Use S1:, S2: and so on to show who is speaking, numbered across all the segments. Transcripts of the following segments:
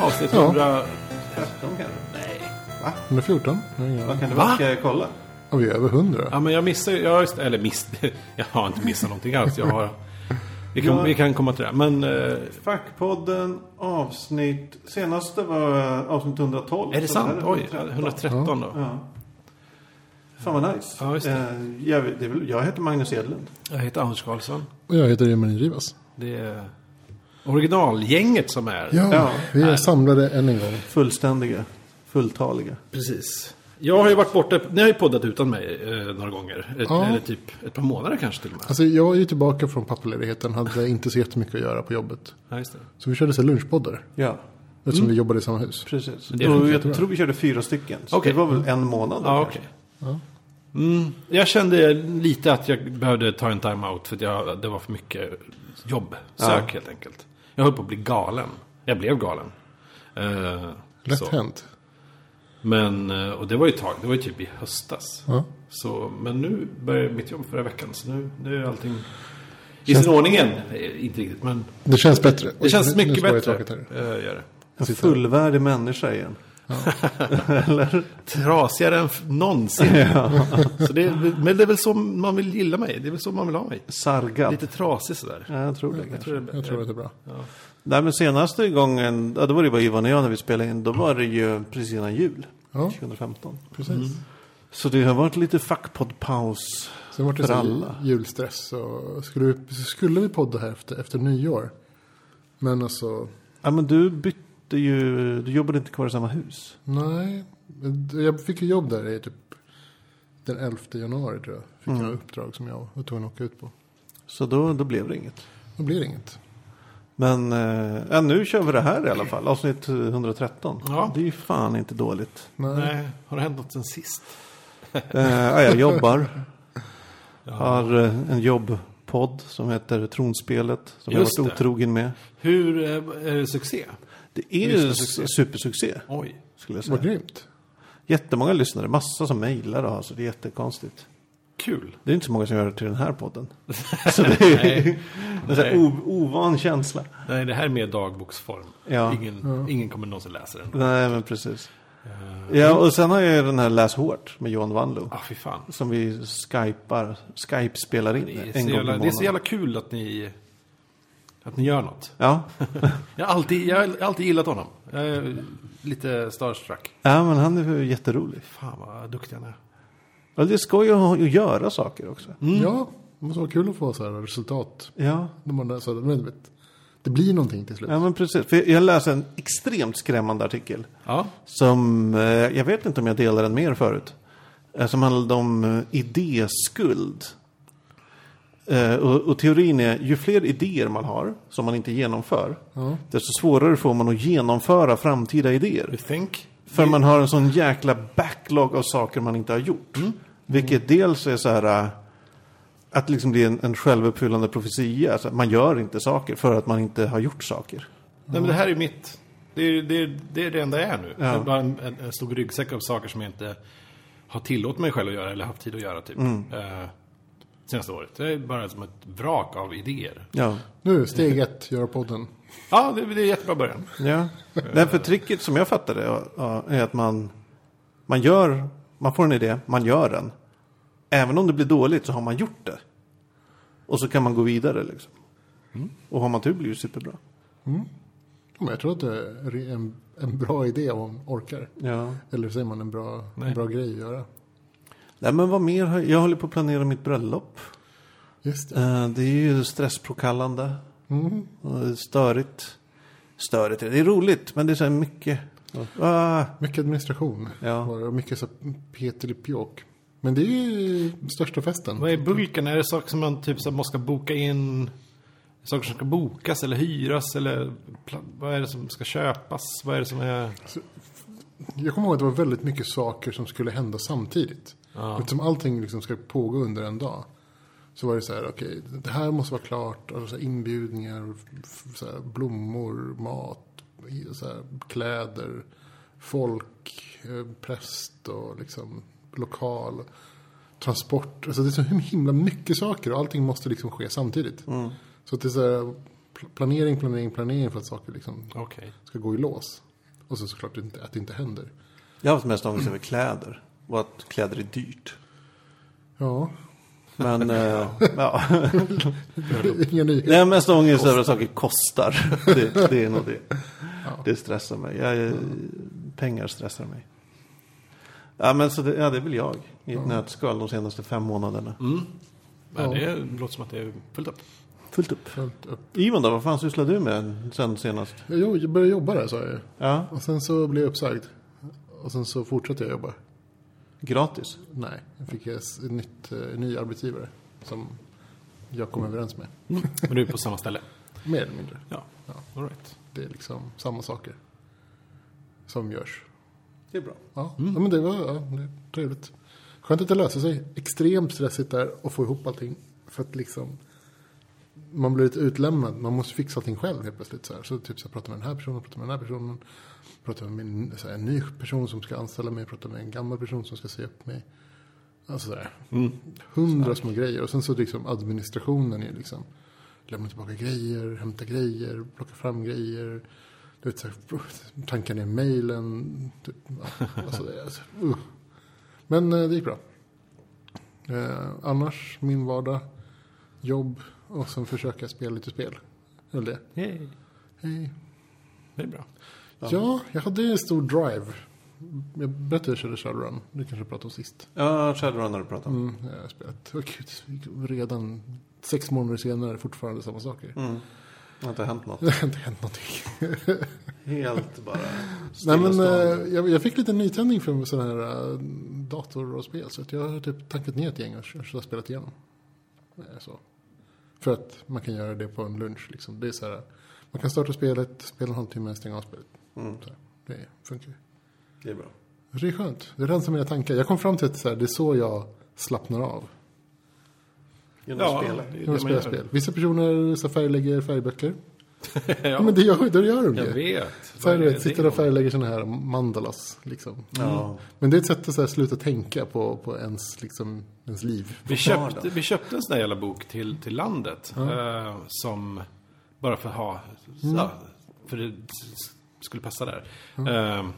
S1: Avsnitt
S2: Ja.
S1: 113 kanske? Nej.
S2: 114? Nej, ja.
S1: Vad kan det
S3: Va?
S1: vara? Ska jag kolla?
S2: Ja, vi är över 100.
S3: Ja, men jag missar ju... ja, just- Eller miss... Jag har inte missat någonting alls. Jag har... Vi kan,
S1: Ja.
S3: vi kan komma till det. Men... eh,
S1: Fackpodden avsnitt... Senaste var eh, avsnitt 112.
S3: Är det
S1: Så
S3: sant?
S1: här är
S3: Oj, 113 då.
S1: Ja. Fan vad nice.
S3: Ja, just det.
S1: Eh, jag, det är väl, jag heter Magnus Edlund.
S3: Jag heter Anders Karlsson.
S2: Och jag heter Emil Rivas.
S3: Det är originalgänget som är...
S2: Ja,
S1: Ja.
S2: vi är samlade än en gång.
S1: Fullständiga. Fulltaliga.
S3: Precis. Jag har ju varit borta, ni har ju poddat utan mig eh, några gånger. Ett,
S2: Ja.
S3: Eller typ ett par månader kanske till och med.
S2: Alltså, jag är ju tillbaka från pappaledigheten. Hade inte så jättemycket att göra på jobbet.
S3: Ja, just det.
S2: Så vi körde så här lunchpoddar.
S1: Ja,
S2: Eftersom vi jobbade i samma hus.
S1: precis.
S3: det
S1: och
S3: funkar
S1: jag tror vi körde fyra stycken. Så
S3: Okej.
S1: det var väl en månad.
S3: Ja,
S1: kanske.
S3: okej. Mm, jag kände lite att jag behövde ta en time-out för att jag, det var för mycket jobb. Sök helt enkelt. Jag höll på att bli galen. Jag blev galen. Eh, så.
S2: Lätt hänt.
S3: Men, eh, och det var ju ett tag, det var ju typ i höstas.
S2: Ja.
S3: Så, men nu började mitt jobb förra veckan, så nu, nu är allting i sin ordning igen. Eh, Inte riktigt, men
S2: Det känns bättre.
S3: det känns
S2: Nu- nu
S3: mycket
S2: slår jag i
S3: bättre.
S2: taket här.
S3: Eh, gör det.
S1: En fullvärdig människa igen.
S3: Trasigare än f- någonsin. så det, är- men det är väl så man vill gilla mig, det är väl så man vill ha mig.
S1: Sargad.
S3: Lite trasig sådär.
S1: Ja, jag tror det. kanske.
S3: Jag tror det är bättre.
S2: Jag tror att det är bra.
S1: Nej men senaste gången, ja, då var det bara Ivan och jag när vi spelade in. Då var det ju precis innan jul.
S2: Ja.
S1: 2015.
S2: Precis.
S3: Mm.
S1: Så det har varit lite fackpoddpaus.
S2: Sen var det
S1: För
S2: så
S1: alla.
S2: julstress. Och skulle, vi, skulle vi podda här efter, efter nyår? Men alltså,
S1: Ja men du bytte ju, du jobbade inte kvar i samma hus.
S2: nej. Jag fick ju jobb där i typ den 11 januari tror jag. Fick jag uppdrag som jag var tvungen att åka ut på.
S1: Så då, då blev det inget.
S2: Då blir det inget.
S1: Men eh, ja, nu kör vi det här i alla fall. Avsnitt 113.
S3: Ja.
S1: Det är ju fan inte dåligt.
S2: Nej.
S3: Nej, har det hänt något sen sist?
S1: Eh, ja, jag jobbar. Har eh, en jobbpodd som heter Tronspelet. Som
S3: Just
S1: jag har
S3: det.
S1: varit otrogen med.
S3: Hur eh, är det succé?
S1: Det är ju s- supersuccé.
S3: Oj.
S1: Skulle jag säga.
S2: Vad grymt.
S1: Jättemånga lyssnare, massa som mejlar och har, så det är jättekonstigt.
S3: Kul.
S1: Det är inte så många som gör det till den här podden. Så det är
S3: Nej.
S1: en sån här o- ovan känsla.
S3: Nej, det här är mer dagboksform.
S1: Ja.
S3: Ingen, ingen kommer någonsin läsa den. Eh,
S1: Nej, men precis. Ja, och sen har jag ju den här Läs hårt med Johan Wanlo.
S3: Ah, fy fan.
S1: Som vi skypar, skype spelar in
S3: Det är, så
S1: en gång
S3: jävla,
S1: i
S3: det är så
S1: månaden.
S3: jävla kul att ni, att ni gör något.
S1: Ja.
S3: Jag har alltid, jag har alltid gillat honom. Jag är lite starstruck.
S1: ja, men han är ju jätterolig.
S3: Fan vad duktig han är.
S1: Och det ska ju att göra saker också.
S2: Ja, det måste vara kul att få så här resultat.
S1: Ja.
S2: De andra, så, men, du vet, det blir någonting till slut.
S1: ja, men precis. För jag läste en extremt skrämmande artikel.
S3: Ja.
S1: Som, eh, jag vet inte om jag delade den med er förut. Eh, Som handlade om eh, idéskuld. Eh, Och, och teorin är, ju fler idéer man har som man inte genomför. Desto svårare får man att genomföra framtida idéer.
S3: You think?
S1: För man har en sån jäkla backlog av saker man inte har gjort. Vilket dels är så här... eh, Att liksom bli en, en självuppfyllande profetia. Alltså, man gör inte saker för att man inte har gjort saker.
S3: Nej, men det här är mitt. Det är det, är, det, är det enda jag är nu.
S1: Ja.
S3: Det är bara en, en, en stor ryggsäck av saker som jag inte har tillåtit mig själv att göra eller haft tid att göra typ. Eh, senaste året. Det är bara som ett vrak av idéer.
S1: Ja.
S2: Nu, steg ett, gör podden.
S3: Ja, det, det är jättebra början.
S1: Ja, Nej, för tricket som jag fattar det ja, ja, är att man, man gör, man får en idé, man gör den. Även om det blir dåligt så har man gjort det. Och så kan man gå vidare liksom. Och har man tur blir det superbra.
S2: Ja, Men jag tror att det är en, en bra idé om man orkar.
S1: Ja.
S2: Eller säger man en bra, en
S3: Nej.
S2: bra grej att göra.
S1: Nej men vad mer, har- jag håller på att planera mitt bröllop.
S2: Just det.
S1: Eh, Det är ju stresspåkallande. Och det är Störigt. Störigt, är det Det är roligt men det är så här mycket. Ah,
S2: Mycket administration.
S1: Ja.
S2: var det, Och mycket så här petelipjåk. Men det är ju största festen.
S3: Vad är bulken? Är det saker som man typ så här, måste boka in? Saker som ska bokas eller hyras eller pla- vad är det som ska köpas? Vad är det som är...
S2: Jag kommer ihåg att det var väldigt mycket saker som skulle hända samtidigt. Eftersom allting liksom ska pågå under en dag. Så var det så här, okej, det här måste vara klart. Och så här inbjudningar, f- så här blommor, mat, i- så här kläder, folk, eh, präst och liksom lokal, transport. Alltså det är så himla mycket saker och allting måste liksom ske samtidigt. Så att det är så här, pl- planering, planering, planering för att saker liksom
S3: Okej.
S2: ska gå i lås. Och sen såklart inte, att det inte händer.
S1: Jag har haft mest ångest över kläder. Och att kläder är dyrt.
S2: Ja,
S1: Men eh, ja.
S2: inga nyheter.
S1: Jag har mest ångest över att saker kostar. Det, det är nog det. Det stressar mig. Jag, eh, pengar stressar mig. Ja, men så det, ja, det är väl jag i ett nötskal de senaste fem månaderna.
S3: Men det låter som att det är fullt upp.
S1: Fullt upp.
S2: Fullt upp.
S1: Ivan då, vad fan sysslade du med sen senast?
S2: Jo, jag började jobba där sa jag ju.
S1: Ja,
S2: Och sen så blev jag uppsagd. Och sen så fortsatte jag jobba.
S1: gratis.
S2: Nej, jag fick ett nytt, eh, ny arbetsgivare. Som jag kom överens med.
S3: Men du är på samma ställe?
S2: Mer eller mindre.
S3: Mm. Ja. All right.
S2: Det är liksom samma saker. Som görs.
S1: Det är bra.
S2: Ja,
S3: Mm.
S2: ja men det var ja, det är trevligt. Skönt att det löser sig. Extremt stressigt där att få ihop allting. För att liksom man blir lite utlämnad. Man måste fixa allting själv helt plötsligt. Så, här. så typ så här, prata med den här personen, prata med den här personen. Prata med min, så här, en ny person som ska anställa mig. Prata med en gammal person som ska säga upp mig. Alltså sådär.
S3: Mm.
S2: Hundra små grejer. Och sen så liksom administrationen är liksom. Lämna tillbaka grejer, hämta grejer, plocka fram grejer. Du vet, så här, tanka ner mejlen. Typ. Ja, Alltså, det är- alltså, uh. Men eh, det gick bra. Eh, annars, min vardag, jobb och sen försöka spela lite spel. Eller det.
S3: Yay.
S2: Hej.
S3: Det är bra.
S2: Ja, jag hade en stor drive. Jag berättade att jag körde Shadowrun. Det kanske jag pratade om sist.
S1: Ja, Shadowrun har du pratat om.
S2: Mm, jag har spelat. Och gud, redan sex månader senare fortfarande samma saker.
S1: Mm. Det har inte hänt något.
S2: Det har inte hänt någonting.
S1: Helt bara
S2: Nej, men,
S1: stillastående.
S2: eh, jag, jag fick lite nytändning från sådana här eh, dator och spel. Så att jag har typ tankat ner ett gäng och kört- kört- spelat igenom. Eh, Så. För att man kan göra det på en lunch. Liksom. Det är så här, man kan starta spelet, spela en halvtimme, stänga av spelet.
S1: Mm,
S2: Så här, det funkar ju.
S1: det är bra.
S2: Så Det är skönt. Det rensar mina tankar. Jag kom fram till att så här, det är så jag slappnar av.
S1: Genom att spela.
S3: det är
S2: När
S3: det
S2: jag
S3: man
S2: spelar
S3: gör.
S2: spel. Vissa personer så här, färglägger färgböcker.
S3: ja,
S2: Men det gör, då gör de
S3: jag
S2: ju.
S3: vet.
S2: Så här,
S3: Vad
S2: du
S3: är
S2: vet,
S3: det
S2: Sitter och
S3: om?
S2: färglägger sådana här mandalas. Liksom.
S1: Ja.
S2: Men det är ett sätt att så här, sluta tänka på, på ens, liksom, ens liv.
S3: Vi köpte, vi köpte en sån där jävla bok till, till landet. Eh, som bara för att ha.
S2: Mm.
S3: Ja, för det s- skulle passa där. Eh,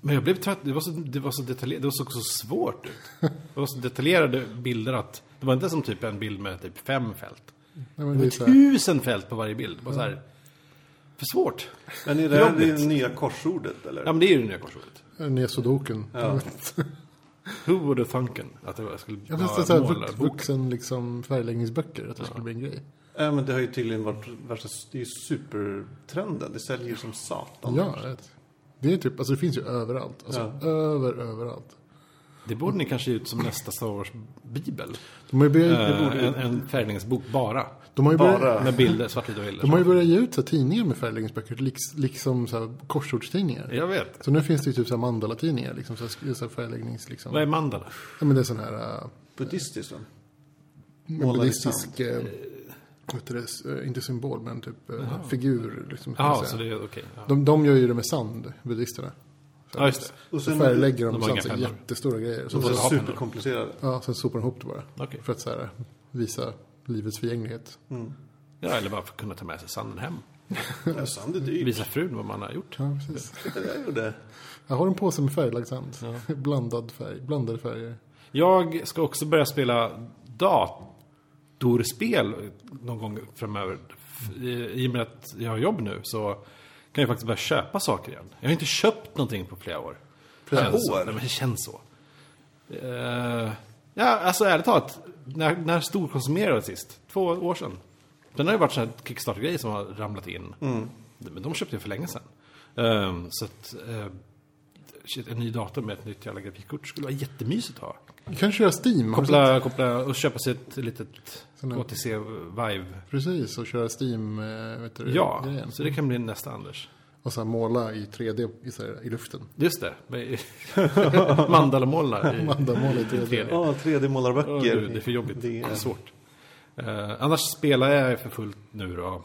S3: men jag blev trött. Det var så, det var så detaljerat. Det såg så svårt ut. Det var så detaljerade bilder att. Det var inte som typ en bild med typ fem fält.
S2: Nej, men det är så här,
S3: Tusen fält på varje bild. Det var så här. För svårt.
S1: Men är det här
S3: Jobbigt.
S1: det nya korsordet eller?
S3: Ja men det är ju det nya korsordet.
S2: Nesodoken. Ja.
S3: Who would have thunken? Att det var- jag skulle
S2: Jag visste så här,
S3: måla
S2: vux,
S3: bok.
S2: vuxen liksom, färgläggningsböcker. Att det skulle bli en grej.
S1: Ja, men det har ju tydligen varit värsta, det är ju supertrenden. Det säljer ju som satan.
S2: Ja, jag vet. det är typ, alltså det finns ju överallt. Alltså över, överallt.
S3: Det borde ni kanske ge ut som nästa Star Wars bibel.
S2: De har ju börjat,
S3: Eh, en, en färgläggningsbok bara.
S2: de har ju börjat,
S1: Bara.
S3: Med bilder, svartvita bilder.
S2: de har ju börjat ge ut så här, tidningar med färgläggningsböcker. liks- Liksom så här, korsordstidningar.
S3: Jag vet.
S2: Så nu finns det ju typ så här mandalatidningar. Liksom, så här, sk- så här färgläggnings... Liksom.
S3: Vad är mandala?
S2: Ja, men det är sån här... äh,
S1: Buddhistiskt va? Målad i
S2: buddhistisk, eh, vad heter det, S- eh, inte symbol, men typ eh, figur. Liksom, kan man
S3: Jaha,
S2: säga.
S3: så det är okej. Ja.
S2: de, de gör ju det med sand, buddhisterna. Så
S3: Ja, just
S1: Och
S2: så
S1: sen-
S2: färglägger de,
S3: de
S2: de
S3: har
S2: sand,
S3: inga
S2: så här
S3: pennor.
S2: jättestora grejer. Så,
S1: De var
S2: så,
S3: har pennor.
S1: superkomplicerade.
S2: ja, sen sopar de ihop det bara.
S3: Okej.
S2: För att så här, visa livets förgänglighet.
S1: Mm.
S3: det. Ja, eller bara för att kunna ta med sig sanden hem.
S1: Ja, sand är dyrt.
S3: Visa frun vad man har gjort.
S2: Ja, precis.
S1: Titta vad jag gjorde.
S2: Jag har en påse med färglagd sand. Blandad färg, blandade färger.
S3: Jag ska också börja spela datorspel någon gång framöver. F- i- I och med att jag har jobb nu så kan jag faktiskt börja köpa saker igen. Jag har inte köpt någonting på flera år.
S1: Flera
S3: Känns så.
S1: år?
S3: Nej, men det känns så. Eh, ja, alltså ärligt talat. När, när storkonsumerade jag sist? Två år sedan. Sen har det varit sådana här Kickstarter-grejer som har ramlat in.
S1: Mm.
S3: Men de köpte jag för länge sedan. Eh, så att... eh, shit, en ny dator med ett nytt jävla grafikkort skulle vara jättemysigt att ha.
S2: Du kan köra Steam. Har du
S3: Koppla, koppla och köpa sig ett litet
S2: Sån här- Mm,
S3: HTC Vive.
S2: sett? Precis, och köra Steam. eh, Vet du,
S3: Ja,
S2: grejen.
S3: så det kan bli nästa Anders.
S2: Och så här måla i 3D i, så här, i luften.
S3: Just det. med- Mandalamålar. i-
S2: Mandamåla i
S3: i
S2: 3D.
S3: 3D.
S1: Ja,
S3: Åh,
S1: 3D-målarböcker.
S3: gud, det är för jobbigt. Alltså, Det
S1: Det
S3: är
S1: är-
S3: svårt. Eh, annars spelar jag för fullt nu då.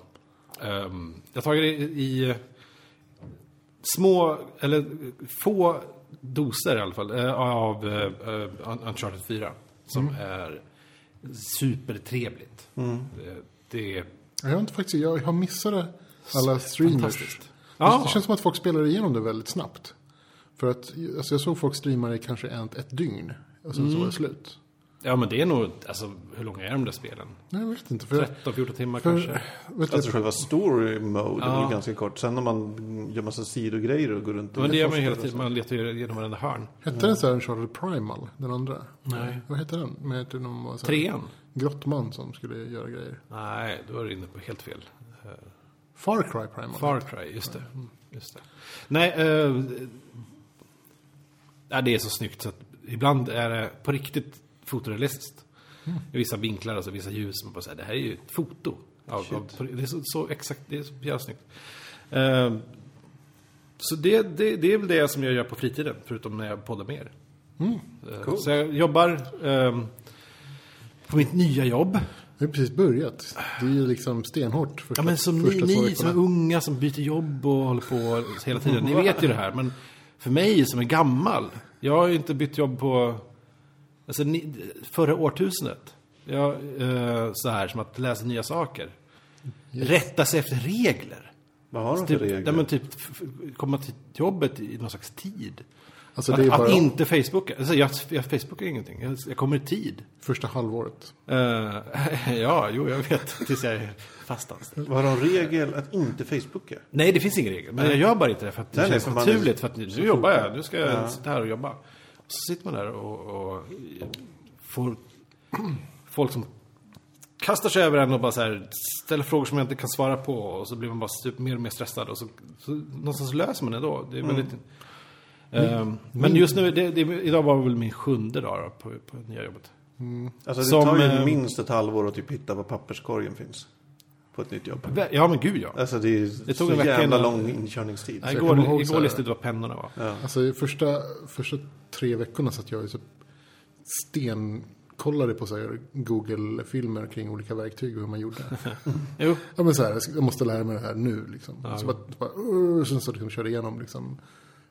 S3: Ehm, jag har tagit det i, i små, eller få doser i alla fall, eh, av eh, eh, Un- Uncharted 4. Som är supertrevligt. Eh, det är
S2: Jag har inte faktiskt, jag har missat alla streamers.
S3: fantastiskt. Ja.
S2: Det känns som att folk spelar igenom det väldigt snabbt. För att alltså jag såg folk streama i kanske ett, ett dygn. Och sen så
S3: Mm.
S2: var det slut.
S3: Ja, men det är nog... Alltså, hur långa är de där spelen?
S2: Nej, jag vet inte. För,
S3: 13-14 timmar
S2: för,
S3: kanske?
S2: vet du,
S1: Alltså själva story mode är
S3: Ja.
S1: väl ganska kort. Sen när man gör massa sidogrejer och går runt och
S3: Men det gör man ju hela
S1: forskar och
S3: tiden. Man letar ju genom varenda hörn.
S2: Hette den så här Uncharted Primal, den andra?
S3: Nej.
S2: Vad hette den? Med att någon var så här
S3: Trean?
S2: Grottman som skulle göra grejer.
S3: Nej, då är du inne på helt fel. Eh,
S2: Far Cry Primal.
S3: Far Cry, just det. Mm, Just det. Nej, eh, ja, det är så snyggt så att ibland är det på riktigt fotorealistiskt. I vissa vinklar, alltså vissa ljus. Man bara säger, det här är ju ett foto. Av, av, det är så, så exakt, det är så jävla snyggt. Eh, så det, det, det är väl det som jag gör på fritiden, förutom när jag poddar med er. Eh,
S1: Coolt.
S3: Så jag jobbar ehm, på mitt nya jobb.
S2: Det har precis börjat. Det är ju liksom stenhårt första,
S3: Ja, men som ni,
S2: första två
S3: ni som
S2: veckorna.
S3: är unga som byter jobb och håller på hela tiden. Ni vet ju det här. Men för mig som är gammal. Jag har ju inte bytt jobb på alltså, ni, förra årtusendet. Jag, eh, så här som att läsa nya saker. Rätta sig efter regler.
S1: Vad har de för
S3: Typ,
S1: regler?
S3: där man typ f- f- komma till jobbet i någon slags tid.
S2: Alltså
S3: att,
S2: det är
S3: att
S2: bara
S3: inte Facebooka. Alltså, jag, jag Facebookar ingenting. Jag, jag kommer i tid.
S2: första halvåret.
S3: Eh, ja, jo, jag vet. Tills jag är fast anställd.
S1: Vad har de regel att inte Facebooka?
S3: Nej, det finns ingen regel. Men jag gör bara inte det för att det
S1: Nej, nej,
S3: känns
S1: för man är
S3: naturligt. För att nu nu jobbar jag, nu ska jag sitta här och jobba. Och så sitter man där och, och får folk som kastar sig över en och bara så här, ställer frågor som jag inte kan svara på. Och så blir man bara typ mer och mer stressad. Och så, så någonstans löser man det då. Det är väldigt... Ehm, men just nu, det, det, idag var väl min sjunde dag då, på, på nya jobbet.
S1: Alltså det
S3: Som,
S1: tar ju
S3: eh,
S1: minst ett halvår att typ hitta var papperskorgen finns. På ett nytt jobb.
S3: Ja, men gud ja.
S1: Alltså det är ju så
S3: Det tog en vecka
S1: jävla
S3: innan-
S1: lång inkörningstid.
S3: Nej,
S2: jag kommer
S3: igår
S2: ihåg så
S3: igår
S2: här-
S3: listade jag vad pennorna var.
S2: Alltså i första, första tre veckorna satt jag ju så stenkollade på så här Google-filmer kring olika verktyg och hur man gjorde.
S3: Jo,
S2: ja men så här, jag ska- jag måste lära mig det här nu liksom. Så bara, bara, "Åh", sen så liksom körde jag igenom liksom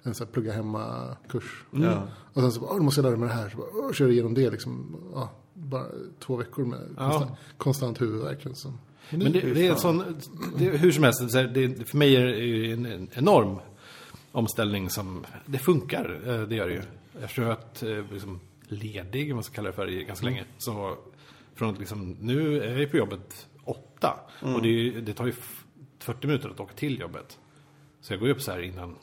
S2: en så här plugga hemma-kurs.
S3: Mm.
S1: Ja.
S2: Och sen så bara, "Åh, nu måste jag lära mig det här. Så bara, "Åh", körde igenom det liksom. Ja, bara två veckor med
S3: Ja.
S2: konstant, konstant huvudvärk. Liksom.
S3: Men det, det är en sån, det, hur som helst, så här, det, för mig är det ju en, en enorm omställning som, det funkar, eh, det gör det ju. Eftersom jag har varit eh, liksom, ledig, om man ska kalla det för, i ganska länge. Så från att liksom, nu är jag på jobbet åtta. Och det, är ju- det tar ju f- 40 minuter att åka till jobbet. Så jag går ju upp så här innan,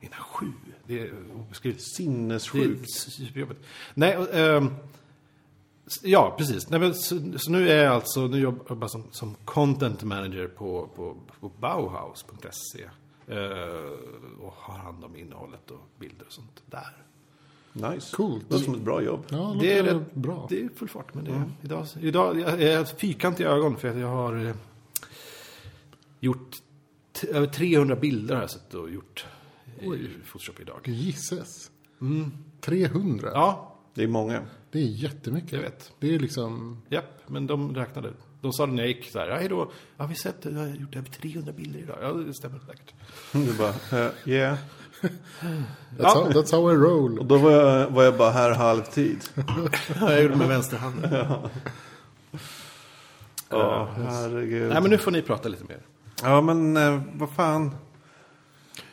S3: innan sju. Det är obeskrivligt.
S1: Sinnessjukt.
S3: Det är superjobbigt. Nej, och, ehm, s- ja precis. Nej, men, så, så nu är jag alltså, nu jobbar jag bara som, som content manager på, på, på Bauhaus.se. eh, och har hand om innehållet och bilder och sånt där.
S1: Nice.
S2: Coolt.
S1: Det låter som ett bra jobb.
S2: Ja, låter
S3: Det är,
S2: rätt
S3: rätt,
S2: bra.
S3: det är full fart med det. Idag, idag jag jag har fyrkantiga ögon för att jag har eh, gjort t- över 300 bilder har jag suttit och gjort i Photoshop idag.
S2: Mm. Gisses. 300.
S3: Mm. Ja,
S1: Det är många.
S2: Det är jättemycket.
S3: jag vet.
S2: Det är liksom...
S3: Japp, men de räknade. De sa det när jag gick så här, ja hejdå, har vi sett, jag har gjort över 300 bilder idag. Ja, det stämmer säkert.
S1: Du bara, eh, yeah.
S2: That's,
S3: Ja.
S2: how, that's how I roll.
S1: Och då var jag, var jag bara här halvtid.
S3: jag gjorde med vänsterhanden.
S1: Ja, herregud.
S3: Nej, men nu får ni prata lite mer.
S1: Ja, men eh, vad fan.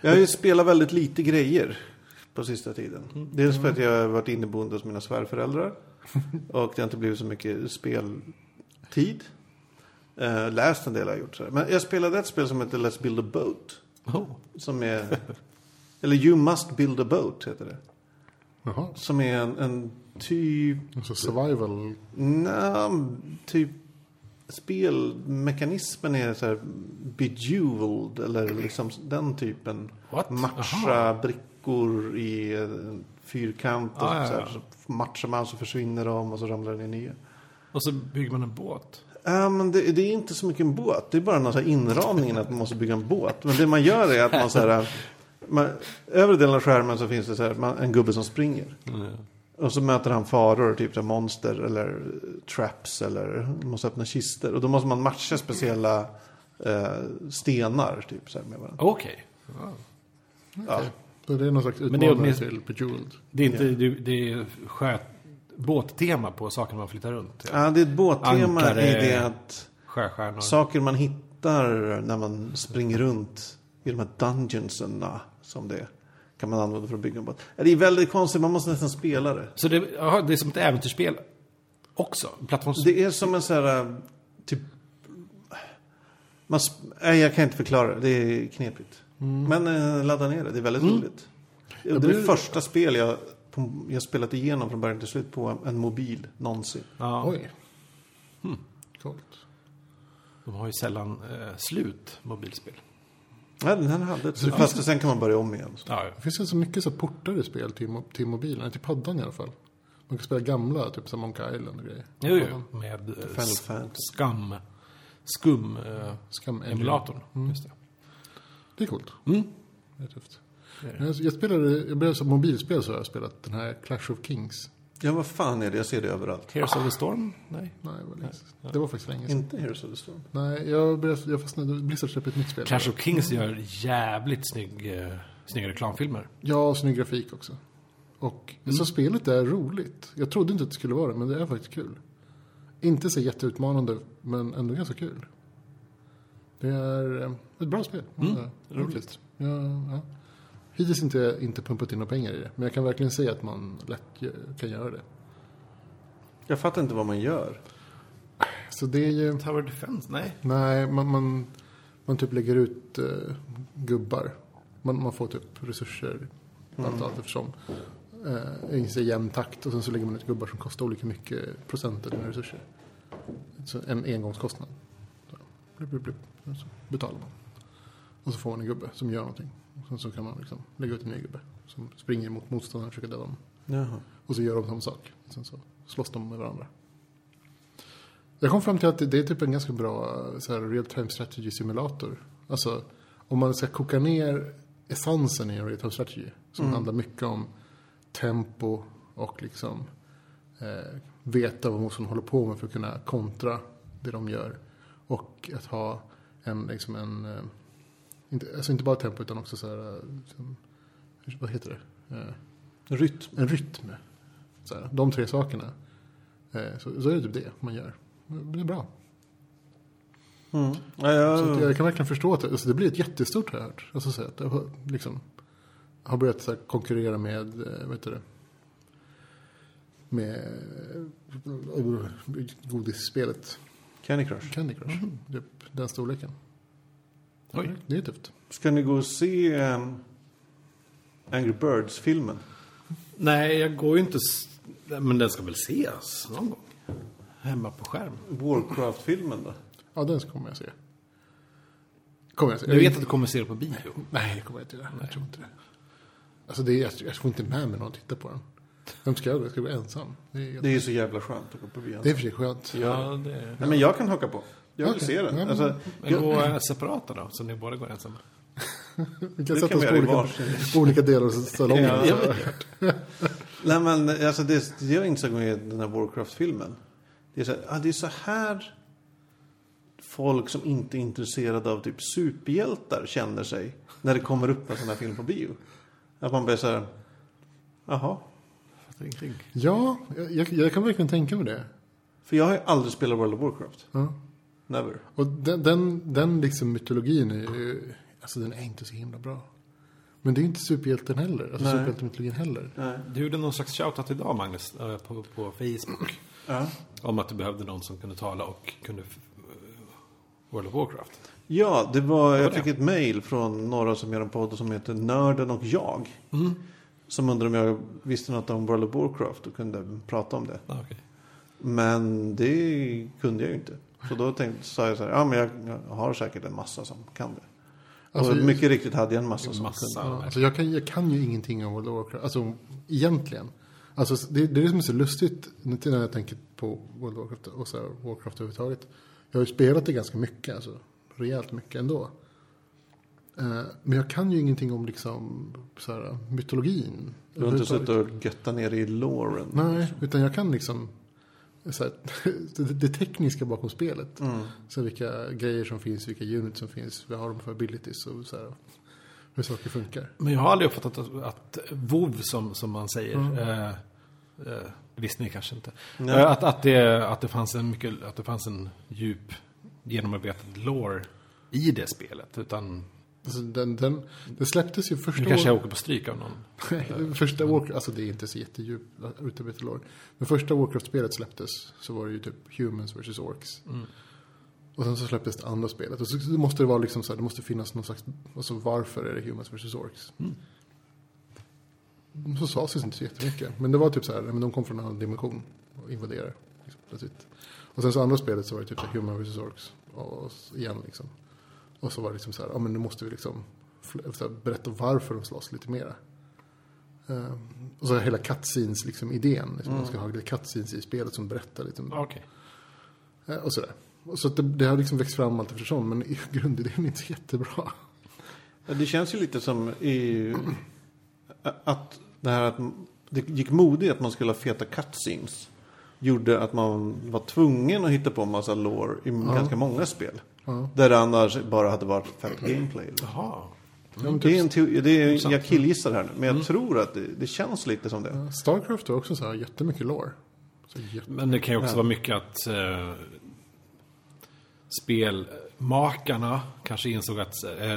S1: Jag har ju spelat väldigt lite grejer på sista tiden. Dels för att jag har varit inneboende hos mina svärföräldrar. Och det har inte blivit så mycket speltid. Eh, läst en del har jag gjort. Så här. Men jag spelade ett spel som heter Let's Build a Boat.
S3: Oh.
S1: Som är... eller You Must Build a Boat heter det.
S2: Jaha.
S1: Som är en, en typ...
S2: Alltså survival.
S1: Nja, typ spelmekanismen är så här bejeweled eller liksom den typen.
S3: What?
S1: Matcha brickor i en fyrkant och
S3: Ah, ja,
S1: så, här,
S3: ja.
S1: så matchar man så försvinner de och så ramlar den i nya.
S3: Och så bygger man en båt.
S1: Ja, men det, det är inte så mycket en båt. Det är bara någon så här inramningen att man måste bygga en båt. Men det man gör är att man så här... Man, övre delen av skärmen så finns det så här, man, en gubbe som springer. Och så möter han faror, typ så här monster eller eh, traps eller man måste öppna kister. Och då måste man matcha speciella eh, stenar typ så här med varandra.
S3: Okej.
S1: Ja.
S2: Så det är någon slags
S3: det är
S2: utmanare
S3: åtminstone-
S2: till Bejeweled.
S3: Det är inte, det, det är sjöt, båttema på saker man flyttar runt. Ja.
S1: Ja, det är ett båttema
S3: Ankare.
S1: i det att
S3: Sjöstjärnor.
S1: saker man hittar när man springer runt i i de här dungeonsen som det kan man använda för att bygga en båt. Det är väldigt konstigt, man måste nästan spela det.
S3: Så det, aha, det är som ett äventyrsspel också? Plattforms...
S1: Det är som en sån här, äh, typ... Man, sp- nej, jag kan inte förklara det, det är knepigt. Men eh, ladda ner det, det är väldigt roligt. Det är det
S2: blir-
S1: första spel jag, på, jag spelat igenom från början till slut på en mobil någonsin.
S3: Ja,
S2: Oj. Hm, Coolt.
S3: De har ju sällan eh, slut, mobilspel.
S1: Nej, den här hade ett, fast sen kan man börja om igen.
S3: Ja, ja.
S2: Det finns ganska mycket så här portar i spel till, mo- till mobilen, till paddan i alla fall. Man kan spela gamla, typ som Monkey Island och grejer.
S3: Jo, jo. Med eh,
S1: Final
S3: s-
S1: Fantasy.
S3: skam... Skum... Eh,
S2: Skam Engine.
S3: emulatorn. Just det.
S2: Det är coolt.
S3: Mm.
S2: Det är tufft.
S3: Det är det.
S2: Jag, jag spelade, jag blev så mobilspel så har jag spelat den här Clash of Kings.
S1: Ja, vad fan är det? Jag ser det överallt.
S3: Tears of the Storm? Nej.
S2: Nej, det var, länge sedan. det var faktiskt länge sedan.
S1: Inte Heroes of the Storm.
S2: Nej, jag, började, jag fastnade. Blizzard släppte ett nytt spel.
S3: Clash of Kings gör jävligt snygg, eh, snygga reklamfilmer.
S2: Ja, och snygg grafik också. Och så spelet är roligt. Jag trodde inte att det skulle vara det, men det är faktiskt kul. Inte så jätteutmanande, men ändå ganska kul. Det är eh, ett bra spel. Ja, roligt. Ja, ja. Hittills inte jag inte pumpat in några pengar i det, men jag kan verkligen säga att man lätt gö- kan göra det.
S1: Jag fattar inte vad man gör.
S2: Så det är ju...
S3: Tower Defense? Nej.
S2: Nej, man, man, man typ lägger ut eh, gubbar. Man, man får typ resurser
S1: Mm.
S2: allt, allt eftersom. Eh, I så jämn takt och sen så lägger man ut gubbar som kostar olika mycket procent av dina resurser. Så en engångskostnad. Så, blip, blip, blip. Och så betalar man. Och så får man en gubbe som gör någonting. Och sen så kan man liksom lägga ut en ny gubbe som springer mot motståndaren och försöker döda dem.
S1: Jaha.
S2: Och så gör de samma sak. Sen så slåss de med varandra. Jag kom fram till att det- det är typ en ganska bra så här, real time strategy simulator. Alltså om man ska koka ner essensen i en real time strategy. Som handlar mycket om tempo och liksom eh, veta vad motståndaren håller på med för att kunna kontra det de gör. Och att ha en, liksom en, eh, inte, alltså inte bara tempo utan också så här, eh, liksom, vad heter det? Eh,
S1: Rytm.
S2: en rytm. Så här, de tre sakerna. Eh, Så, så är det typ det man gör. Det är bra.
S1: Mm. Ja, jag-
S3: Ah.
S2: Så att jag kan verkligen förstå att det, alltså det blir ett jättestort har jag hört. Alltså så att det har, liksom, har börjat så här, konkurrera med, eh, vad heter det? Med eh, godisspelet
S1: Candy Crush.
S2: Candy Crush. Typ den storleken.
S3: Mm. Oj.
S2: Det är tufft.
S1: Ska ni gå och se ehm, Angry Birds-filmen?
S3: Nej, jag går ju inte... s- Nej, Men den ska väl ses någon gång? Hemma på skärm.
S1: Warcraft-filmen då?
S2: Ja, den kommer jag se. Kommer jag se.
S3: Jag vet att du kommer se det på bio.
S2: Nej, det kommer jag inte göra. Jag tror inte det. Alltså, det är, jag, jag får inte med mig någon att titta på den. Vem ska jag då? Jag ska vara ensam. Det är,
S1: Det
S2: det,
S1: är ju så jävla skönt att gå på bio.
S2: är i och för sig skönt.
S3: Ja, det...
S1: Nej, men jag kan haka på. Jag vill
S2: Okej.
S1: se
S2: Ja,
S1: den.
S2: men-
S1: Alltså,
S3: Men gå eh, separata då, så ni båda går ensamma.
S2: Vi kan
S1: det
S2: sätta
S1: kan
S2: oss
S1: vi
S2: på
S1: göra i
S2: olika,
S1: varsin.
S2: på olika delar av salongen.
S1: Ja.
S2: ja.
S1: nej, men alltså, det, det jag insåg med den här Warcraft-filmen. Det är, så här, ah, det är så här folk som inte är intresserade av typ superhjältar känner sig. När det kommer upp en sån här film på bio. Att man blir så här, jaha.
S3: Fattar ingenting.
S2: jag- jag, jag kan verkligen tänka mig det.
S1: För jag har ju aldrig spelat World of Warcraft.
S2: Ja.
S1: Never.
S2: Och den, den, den liksom mytologin är ju... Alltså, den är inte så himla bra. Men det är ju inte superhjälten heller. Alltså,
S1: Nej.
S2: superhjältemytologin heller.
S1: Nej.
S3: Du gjorde någon slags shoutout idag, Magnus, eh, på, på Facebook.
S1: Ja.
S3: Om att du behövde någon som kunde tala och kunde f- eh, World of Warcraft.
S1: Ja, det var, jag
S3: det?
S1: fick ett mejl från några som gör en podd som heter Nörden och jag. Som undrade om jag visste något om World of Warcraft och kunde prata om det.
S3: Ah, okay.
S1: Men det kunde jag ju inte. Så då tänkte, sa jag så här, ja men jag, jag har säkert en massa som kan det.
S2: Alltså,
S1: och mycket riktigt hade jag en massa som
S3: Massa.
S1: kunde.
S2: Ja, alltså jag, kan, jag kan ju ingenting om World of Warcraft, alltså egentligen. Alltså, det, det är det som är så lustigt när jag tänker på World of Warcraft och så här, Warcraft överhuvudtaget. Jag har ju spelat det ganska mycket, alltså rejält mycket ändå. Eh, men jag kan ju ingenting om liksom så här, mytologin.
S1: Du har inte
S2: överhuvudtaget.
S1: suttit och göttat ner i låren.
S2: Nej, utan jag kan liksom så här, det, det tekniska bakom spelet.
S1: Mm.
S2: Så här, vilka grejer som finns, vilka units som finns, vad har de för abilities och så här, hur saker funkar.
S3: Men jag har aldrig uppfattat att, att WoW som, som man säger. Eh, eh, det visste ni kanske inte. Eh, att, att, det, att, det fanns en mycket, att det fanns en djup genomarbetad lore i det spelet. Utan
S2: Alltså den, den, den släpptes ju första
S3: Nu kanske jag åker på stryk av någon.
S2: Nej, första Warcraft, alltså det är inte så jättedjup utarbetad lore. Men första Warcraft-spelet släpptes så var det ju typ Humans vs Orcs.
S3: Mm.
S2: Och sen så släpptes det andra spelet. Och så så måste det vara liksom så här, det måste finnas någon slags, alltså varför är det Humans vs Orcs? Så sades det inte så jättemycket. Men det var typ så här, men de kom från en annan dimension och invaderade. Liksom, plötsligt. Och sen så andra spelet så var det typ så här, Humans vs Orcs. Och, så igen liksom. Och så var det liksom så här, ja men nu måste vi liksom fl- så här, berätta varför de slåss lite mera. Eh, och så hela cutscenes liksom idén. Liksom, De ska ha lite cutscenes i spelet som berättar lite om,
S3: Okej.
S2: eh, och sådär. Och så att det, det har liksom växt fram allt eftersom men i- grundidén är inte så jättebra.
S1: Ja, Det känns ju lite som i, att det här att det gick modigt att man skulle ha feta cutscenes. Gjorde att man var tvungen att hitta på en massa lore i ganska många spel.
S2: Ja.
S1: Där det annars bara hade varit fett gameplay. liksom.
S3: Jaha.
S1: Det är en
S3: typ-
S1: teori, det är, jag killgissar här nu, men jag
S3: Mm.
S1: tror att det, det känns lite som det.
S2: Starcraft har också så här jättemycket lore. Så jätte...
S3: Men det kan ju också vara mycket att eh, spelmakarna kanske insåg att eh,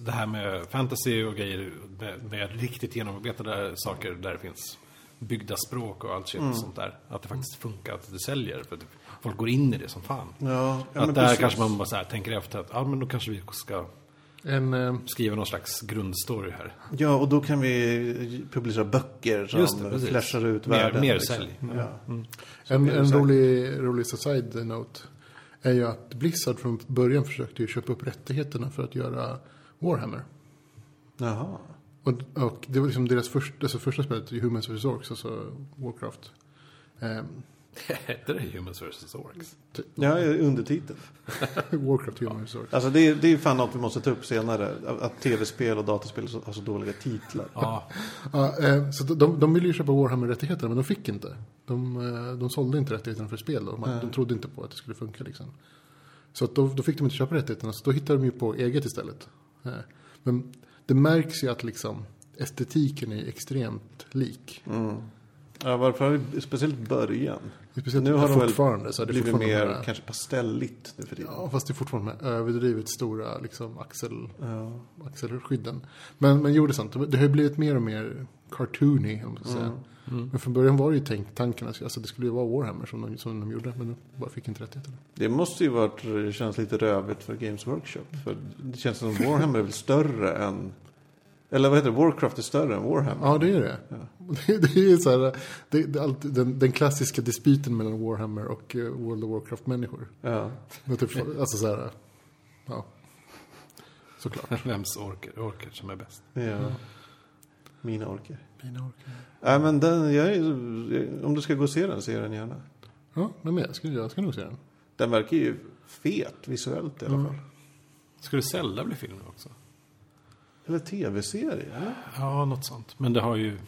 S3: det här med fantasy och grejer med, med riktigt genomarbetade saker där det finns byggda språk och allt shit
S1: Mm.
S3: sånt där. Att det faktiskt funkar, att det säljer. För att folk går in i det som fan.
S1: Ja, ja, men
S3: att där
S1: precis.
S3: kanske man bara så här tänker efter att ah, men då kanske vi ska
S2: En, eh,
S3: skriva någon slags grundstory här.
S1: Ja, och då kan vi publicera böcker
S3: Just det,
S1: som
S3: precis.
S1: flashar ut
S3: Mer-
S1: världen. liksom. Mm.
S3: mer sälj.
S1: Ja.
S2: en,
S1: det är
S2: en
S1: så här-
S2: rolig, rolig side note är ju att Blizzard från början försökte ju köpa upp rättigheterna för att göra Warhammer.
S1: Jaha.
S2: Och, och det var liksom deras första, alltså första spelet, Humans vs Orcs, alltså Warcraft. Ehm,
S3: Hette det Humans vs. Orcs?
S1: Ja, undertiteln.
S2: Warcraft Human Resource.
S1: Alltså det, är- det är fan något vi måste ta upp senare. Att tv-spel och dataspel så- har så dåliga titlar.
S3: Ja,
S2: Ja, eh, så de, de ville ju köpa Warhammer-rättigheterna men de fick inte. De, eh, de sålde inte rättigheterna för spel då. Man, De trodde inte på att det skulle funka liksom. Så att då, då fick de inte köpa rättigheterna så då hittade de ju på eget istället. Eh, men det märks ju att liksom estetiken är extremt lik.
S1: Mm. Ja, varför har vi speciellt början?
S2: Speciellt
S1: Nu har de väl
S2: fortfarande. Så är det
S1: Blivit
S2: fortfarande
S1: mer
S2: de här-
S1: kanske pastelligt nu för tiden.
S2: Ja, fast det är fortfarande med överdrivet stora liksom, axel, axelskydden. Men, men jo, det är sant. Det har ju blivit mer och mer cartoony, om man ska säga.
S1: Mm.
S3: Mm.
S2: Men från början var det ju tänk, tanken att alltså, det skulle ju vara Warhammer som de, som de gjorde, men de bara fick inte rättigheterna.
S1: Det måste ju varit, känns lite rövigt för Games Workshop. För det känns som Warhammer är väl större än... Eller vad heter det? Warcraft är större än Warhammer.
S2: Ja, det är det. Det, det är ju så här, det, det, är alltid den, den klassiska dispyten mellan Warhammer och eh, World of Warcraft-människor.
S1: Ja.
S2: Men Typ, alltså så här, ja, såklart.
S3: vems orker, orker som är bäst?
S1: ja. Mina orker.
S2: Mina orkar.
S1: Nej men den, jag, är- om du ska gå och se den, se den gärna.
S2: Ja, men jag ska, jag ska nog se den.
S1: Den verkar ju fet visuellt i
S2: Mm.
S1: alla fall.
S3: Skulle Zelda bli film också?
S1: Eller tv-serie. eller?
S3: Ja, något sånt. Men det har ju...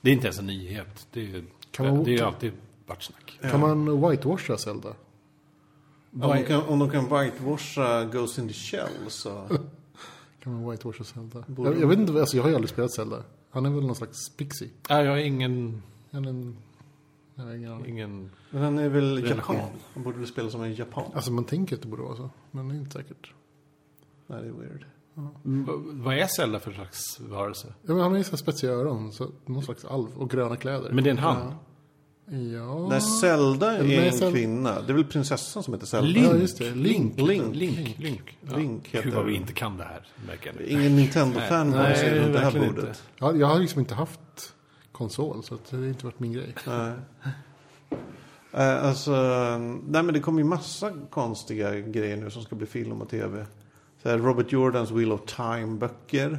S3: Det är inte ens en nyhet. Det är,
S2: Kan man-
S3: det är ju alltid vart snack.
S2: Kan man whitewasha Zelda?
S1: Om de, kan, om de kan whitewasha Ghost in the Shell så...
S2: Kan man whitewash och Zelda?
S1: Borde
S2: Jag, jag vet inte, alltså jag har ju aldrig spelat Zelda. Han är väl någon slags pixie?
S3: Nej, jag har ingen...
S2: Han är en... Jag har ingen aning.
S3: ingen
S1: Men han är väl
S3: Relation.
S1: japan? Han borde väl spela som en japan?
S2: Alltså man tänker att det borde vara så. Men det är inte säkert.
S1: Nej, det är weird.
S3: V- vad är Zelda för slags varelse?
S2: Ja, men han har ju så här spetsiga öron. Så någon slags alv. Och gröna kläder.
S3: Men det är en han.
S2: Ja...
S1: Nej, Zelda
S2: Eller
S1: är
S2: nej,
S1: en
S2: Zelda-
S1: kvinna. Det är väl prinsessan som heter Zelda?
S3: Link.
S2: Ja, just det. Link.
S1: Link.
S3: Link. Link. Ja.
S1: Link heter
S3: Gud vad vi
S1: den.
S3: inte kan det här, märker jag
S1: Det
S3: nu.
S1: är Ingen Nintendo-fan
S3: Nej,
S1: någonsin
S3: nej,
S1: runt det här
S3: verkligen
S1: bordet.
S3: inte.
S2: Jag, jag har liksom inte haft konsol. Så att det har inte varit min grej.
S1: Nej. Eh, Alltså, nej men det kommer ju massa konstiga grejer nu som ska bli film och tv. Så här, Robert Jordans Wheel of Time-böcker.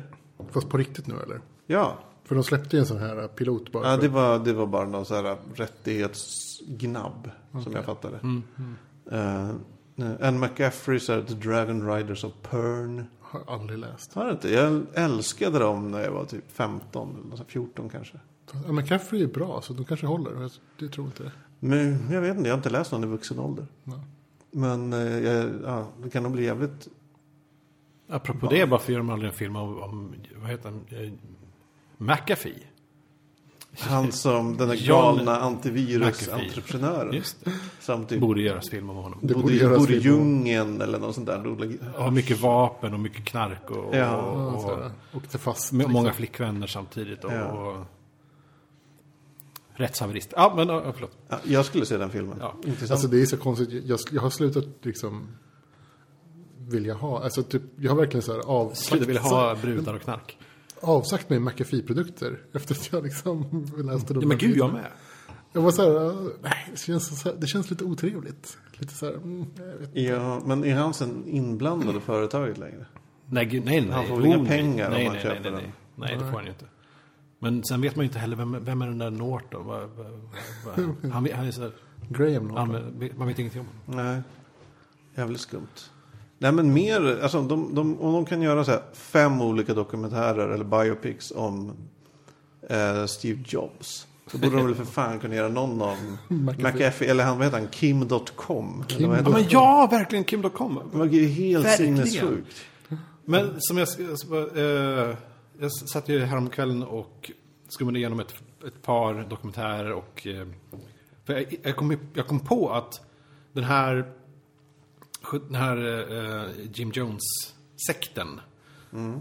S2: Fast på riktigt nu eller?
S1: Ja,
S2: För de släppte ju en sån här eh, pilot bara.
S1: Ja,
S2: för-
S1: det var, det var bara någon så här rättighetsgnabb som jag fattade. Mm, Anne McCaffrey så här, The Dragon Riders of Pern.
S2: Har aldrig läst.
S1: Har inte? Jag älskade dem när jag var typ 15, eller så här 14 kanske.
S2: Ja, men Caffrey är bra så de kanske håller. Jag, jag tror inte det.
S1: Men jag vet inte, jag har inte läst någon i vuxen ålder. Men eh, jag, ja, det kan nog bli jävligt...
S3: Apropå det, varför gör de aldrig en film om, om vad heter han? Eh, McAfee?
S1: Han som den där
S3: John
S1: galna
S3: McAfee.
S1: antivirusentreprenören.
S3: Just det.
S1: Som
S3: Det
S1: typ
S3: borde göras film om honom.
S2: Det
S1: bodde,
S2: borde
S1: i-
S2: göras
S1: bodde i
S2: film om-
S1: djungeln eller något sånt där. Då-
S3: Och mycket vapen och mycket knark och,
S1: Ja,
S2: Ja,
S3: och,
S2: så
S3: och
S2: här, Åkte fast.
S3: med
S2: liksom.
S3: många flickvänner samtidigt. Och,
S1: Ja.
S3: och rättshaverist. Ja, men ja, förlåt.
S1: Ja, jag skulle se den filmen.
S3: Ja.
S1: Intressant.
S2: Alltså det är så konstigt. Jag, jag har slutat liksom vilja ha. Alltså typ, jag har verkligen så här av,
S3: Sluta vilja ha brudar och knark.
S2: avsagt mig McAfee-produkter. Efter att jag liksom läste dem.
S3: Ja, men gud, jag med.
S2: Jag var så här, äh, nej, det känns, så här, det känns lite otrevligt. Lite så här, mm, jag vet.
S1: ja, men är han sen inblandad i företaget längre?
S3: Nej, gud, nej, nej.
S1: Han får
S3: Oh,
S1: väl inga
S3: nej.
S1: pengar om
S3: nej,
S1: han
S3: nej,
S1: köper
S3: nej, nej,
S1: den?
S3: nej. Nej, det får han ju inte. Men sen vet man ju inte heller, vem, vem är den där Norton? Vad- vad- vad- vad- Han, han är så här,
S2: Graham
S3: han,
S2: Norton.
S3: man vet ingenting om honom.
S1: Nej. Jävligt skumt. Nej men mer, alltså de, de, om de kan göra så här fem olika dokumentärer eller biopics om eh, Steve Jobs. Då borde de väl för fan kunna göra någon om
S2: McAfee.
S1: McAfee, eller han, vad heter han, Kim.com? Kim.
S3: Ja, men ja, verkligen Kim.com.
S1: Det var ju helt
S3: Verkligen.
S1: sinnessjukt.
S3: Men som jag, jag, eh, jag satt ju häromkvällen och skummade igenom ett, ett par dokumentärer och eh, för jag, jag, kom, jag kom på att den här, den här eh, Jim Jones-sekten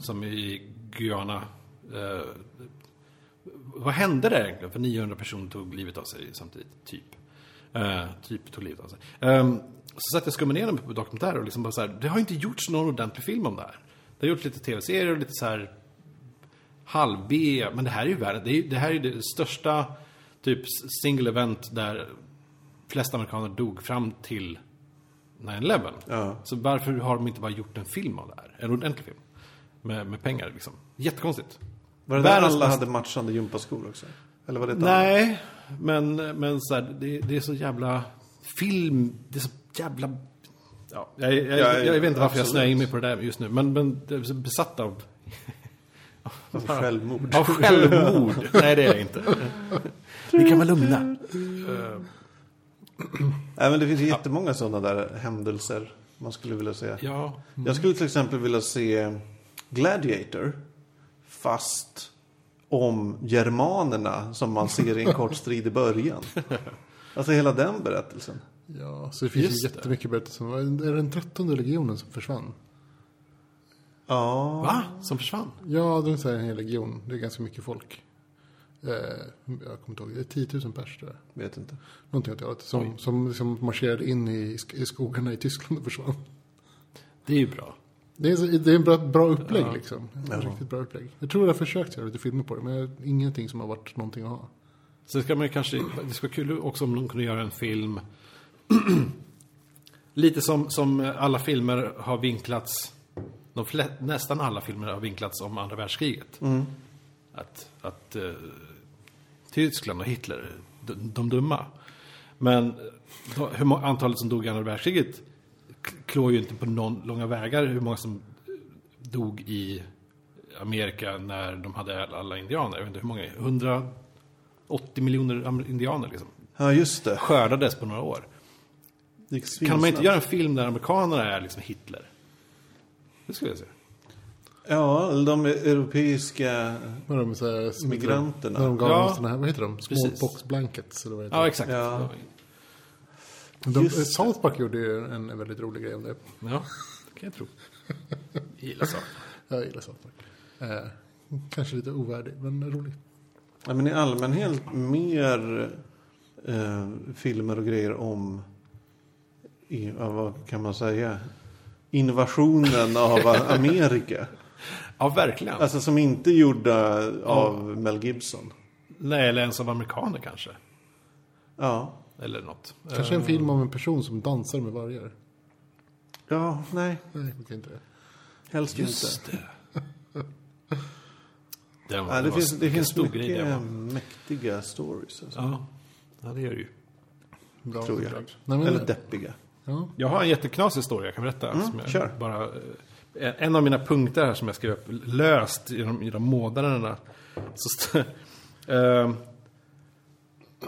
S3: som i Guyana eh, vad hände där egentligen? För 900 personer tog livet av sig samtidigt, typ. Eh, typ tog livet av sig. Ehm, så satt jag och skummade igenom på dokumentärer och liksom bara så här, det har inte gjorts någon ordentlig film om det här. Det har gjorts lite tv-serier och lite så här halv-B, men det här är ju världen. Det, är, ju- det här är ju det största typ single event där flest amerikaner dog fram till 9-11.
S1: Ja.
S3: Så varför har de inte bara gjort en film av det här? En ordentlig film. Med, med pengar liksom. Jättekonstigt.
S1: Var det där
S3: Världens
S1: alla
S3: mest-
S1: hade matchande gympaskor också? Eller var det ett annat?
S3: Nej, men, men så här, det, det är så jävla film, det är så jävla... Ja, jag, jag,
S1: Ja,
S3: jag, vet inte varför jag
S1: absolut.
S3: snöar in mig på det där just nu, men, men jag är så besatt av,
S1: Om Självmord.
S3: av självmord. Nej, det är jag inte. Ni kan vara lugna.
S1: Nej, men det finns jättemånga sådana där händelser man skulle vilja se.
S3: Ja,
S1: Jag skulle till exempel vilja se Gladiator. Fast om germanerna som man ser i en kort strid i början. Alltså hela den berättelsen.
S2: Ja, så det finns
S3: Just
S2: ju
S3: det.
S2: jättemycket berättelser. Vad Är det den trettonde legionen som försvann?
S1: Ja.
S3: va? Som försvann?
S2: Ja, det är så här en hel legion. Det är ganska mycket folk. Eh, jag kommer inte ihåg, det är 10 000 pers tror jag.
S1: Vet inte.
S2: Någonting åt det hållet. Som, som liksom marscherade in i, sk- i skogarna i Tyskland och försvann.
S3: Det är ju bra.
S2: Det är, så- det är en bra, bra upplägg liksom. En
S1: Ja.
S2: Riktigt bra upplägg. Jag tror jag har försökt göra lite filmer på det, men jag, ingenting som har varit någonting att ha.
S3: Sen ska man ju kanske, det skulle vara kul också om de kunde göra en film. Lite som, som alla filmer har vinklats. De flä, nästan alla filmer har vinklats om andra världskriget. Att, att eh, Tyskland och Hitler, de, de dumma. Men då, hur många, antalet som dog i andra världskriget k- klår ju inte på någon, långa vägar hur många som dog i Amerika när de hade alla indianer. Jag vet inte hur många, 100 80 miljoner amer- indianer liksom.
S1: Ja, just det.
S3: Skördades på några år.
S1: Det gick
S3: Kan man inte
S1: svinsnabbt.
S3: göra en film där amerikanerna är liksom Hitler? Det skulle jag säga.
S1: Ja, eller de europeiska...
S2: När de så här, som heter de-
S1: Migranterna.
S2: När de gav
S3: Ja.
S2: dem sådana här, vad heter de?
S3: Precis.
S2: Smallpox blankets eller vad heter
S3: Ja, exakt.
S1: Ja.
S2: det? de? eh,
S1: just det.
S2: South Park gjorde ju en väldigt rolig grej om det.
S3: Ja, det kan jag tro. Jag gillar så.
S2: Jag gillar South Park. Eh, kanske lite ovärdig, men rolig.
S1: Ja, men i allmänhet mer eh, filmer och grejer om, i, ja, vad kan man säga, invasionen av Amerika.
S3: Ja, verkligen.
S1: Alltså som inte är gjorda av Mel Gibson.
S3: Nej, eller ens av amerikaner kanske.
S1: Ja.
S3: Eller något. Eh,
S2: Kanske en film om en person som dansar med vargar.
S1: Ja, nej.
S2: Nej, jag tycker inte det.
S1: Helst
S3: Just
S1: inte.
S3: det. Den var,
S1: Ja, det,
S3: var
S1: finns, det
S3: vilken
S1: finns
S3: stor grej
S1: mycket
S3: det var.
S1: mäktiga stories. Alltså,
S3: Ja. ja, det gör det ju.
S2: Bra
S1: tror jag.
S2: bidrag. Nej, men,
S1: Eller deppiga.
S2: ja.
S3: Jag har en jätteknasig historia jag kan berätta. som jag
S1: kör.
S3: Bara, eh, en av mina punkter här som jag skrev upp löst i de, i de månaderna. Så, st- ehm,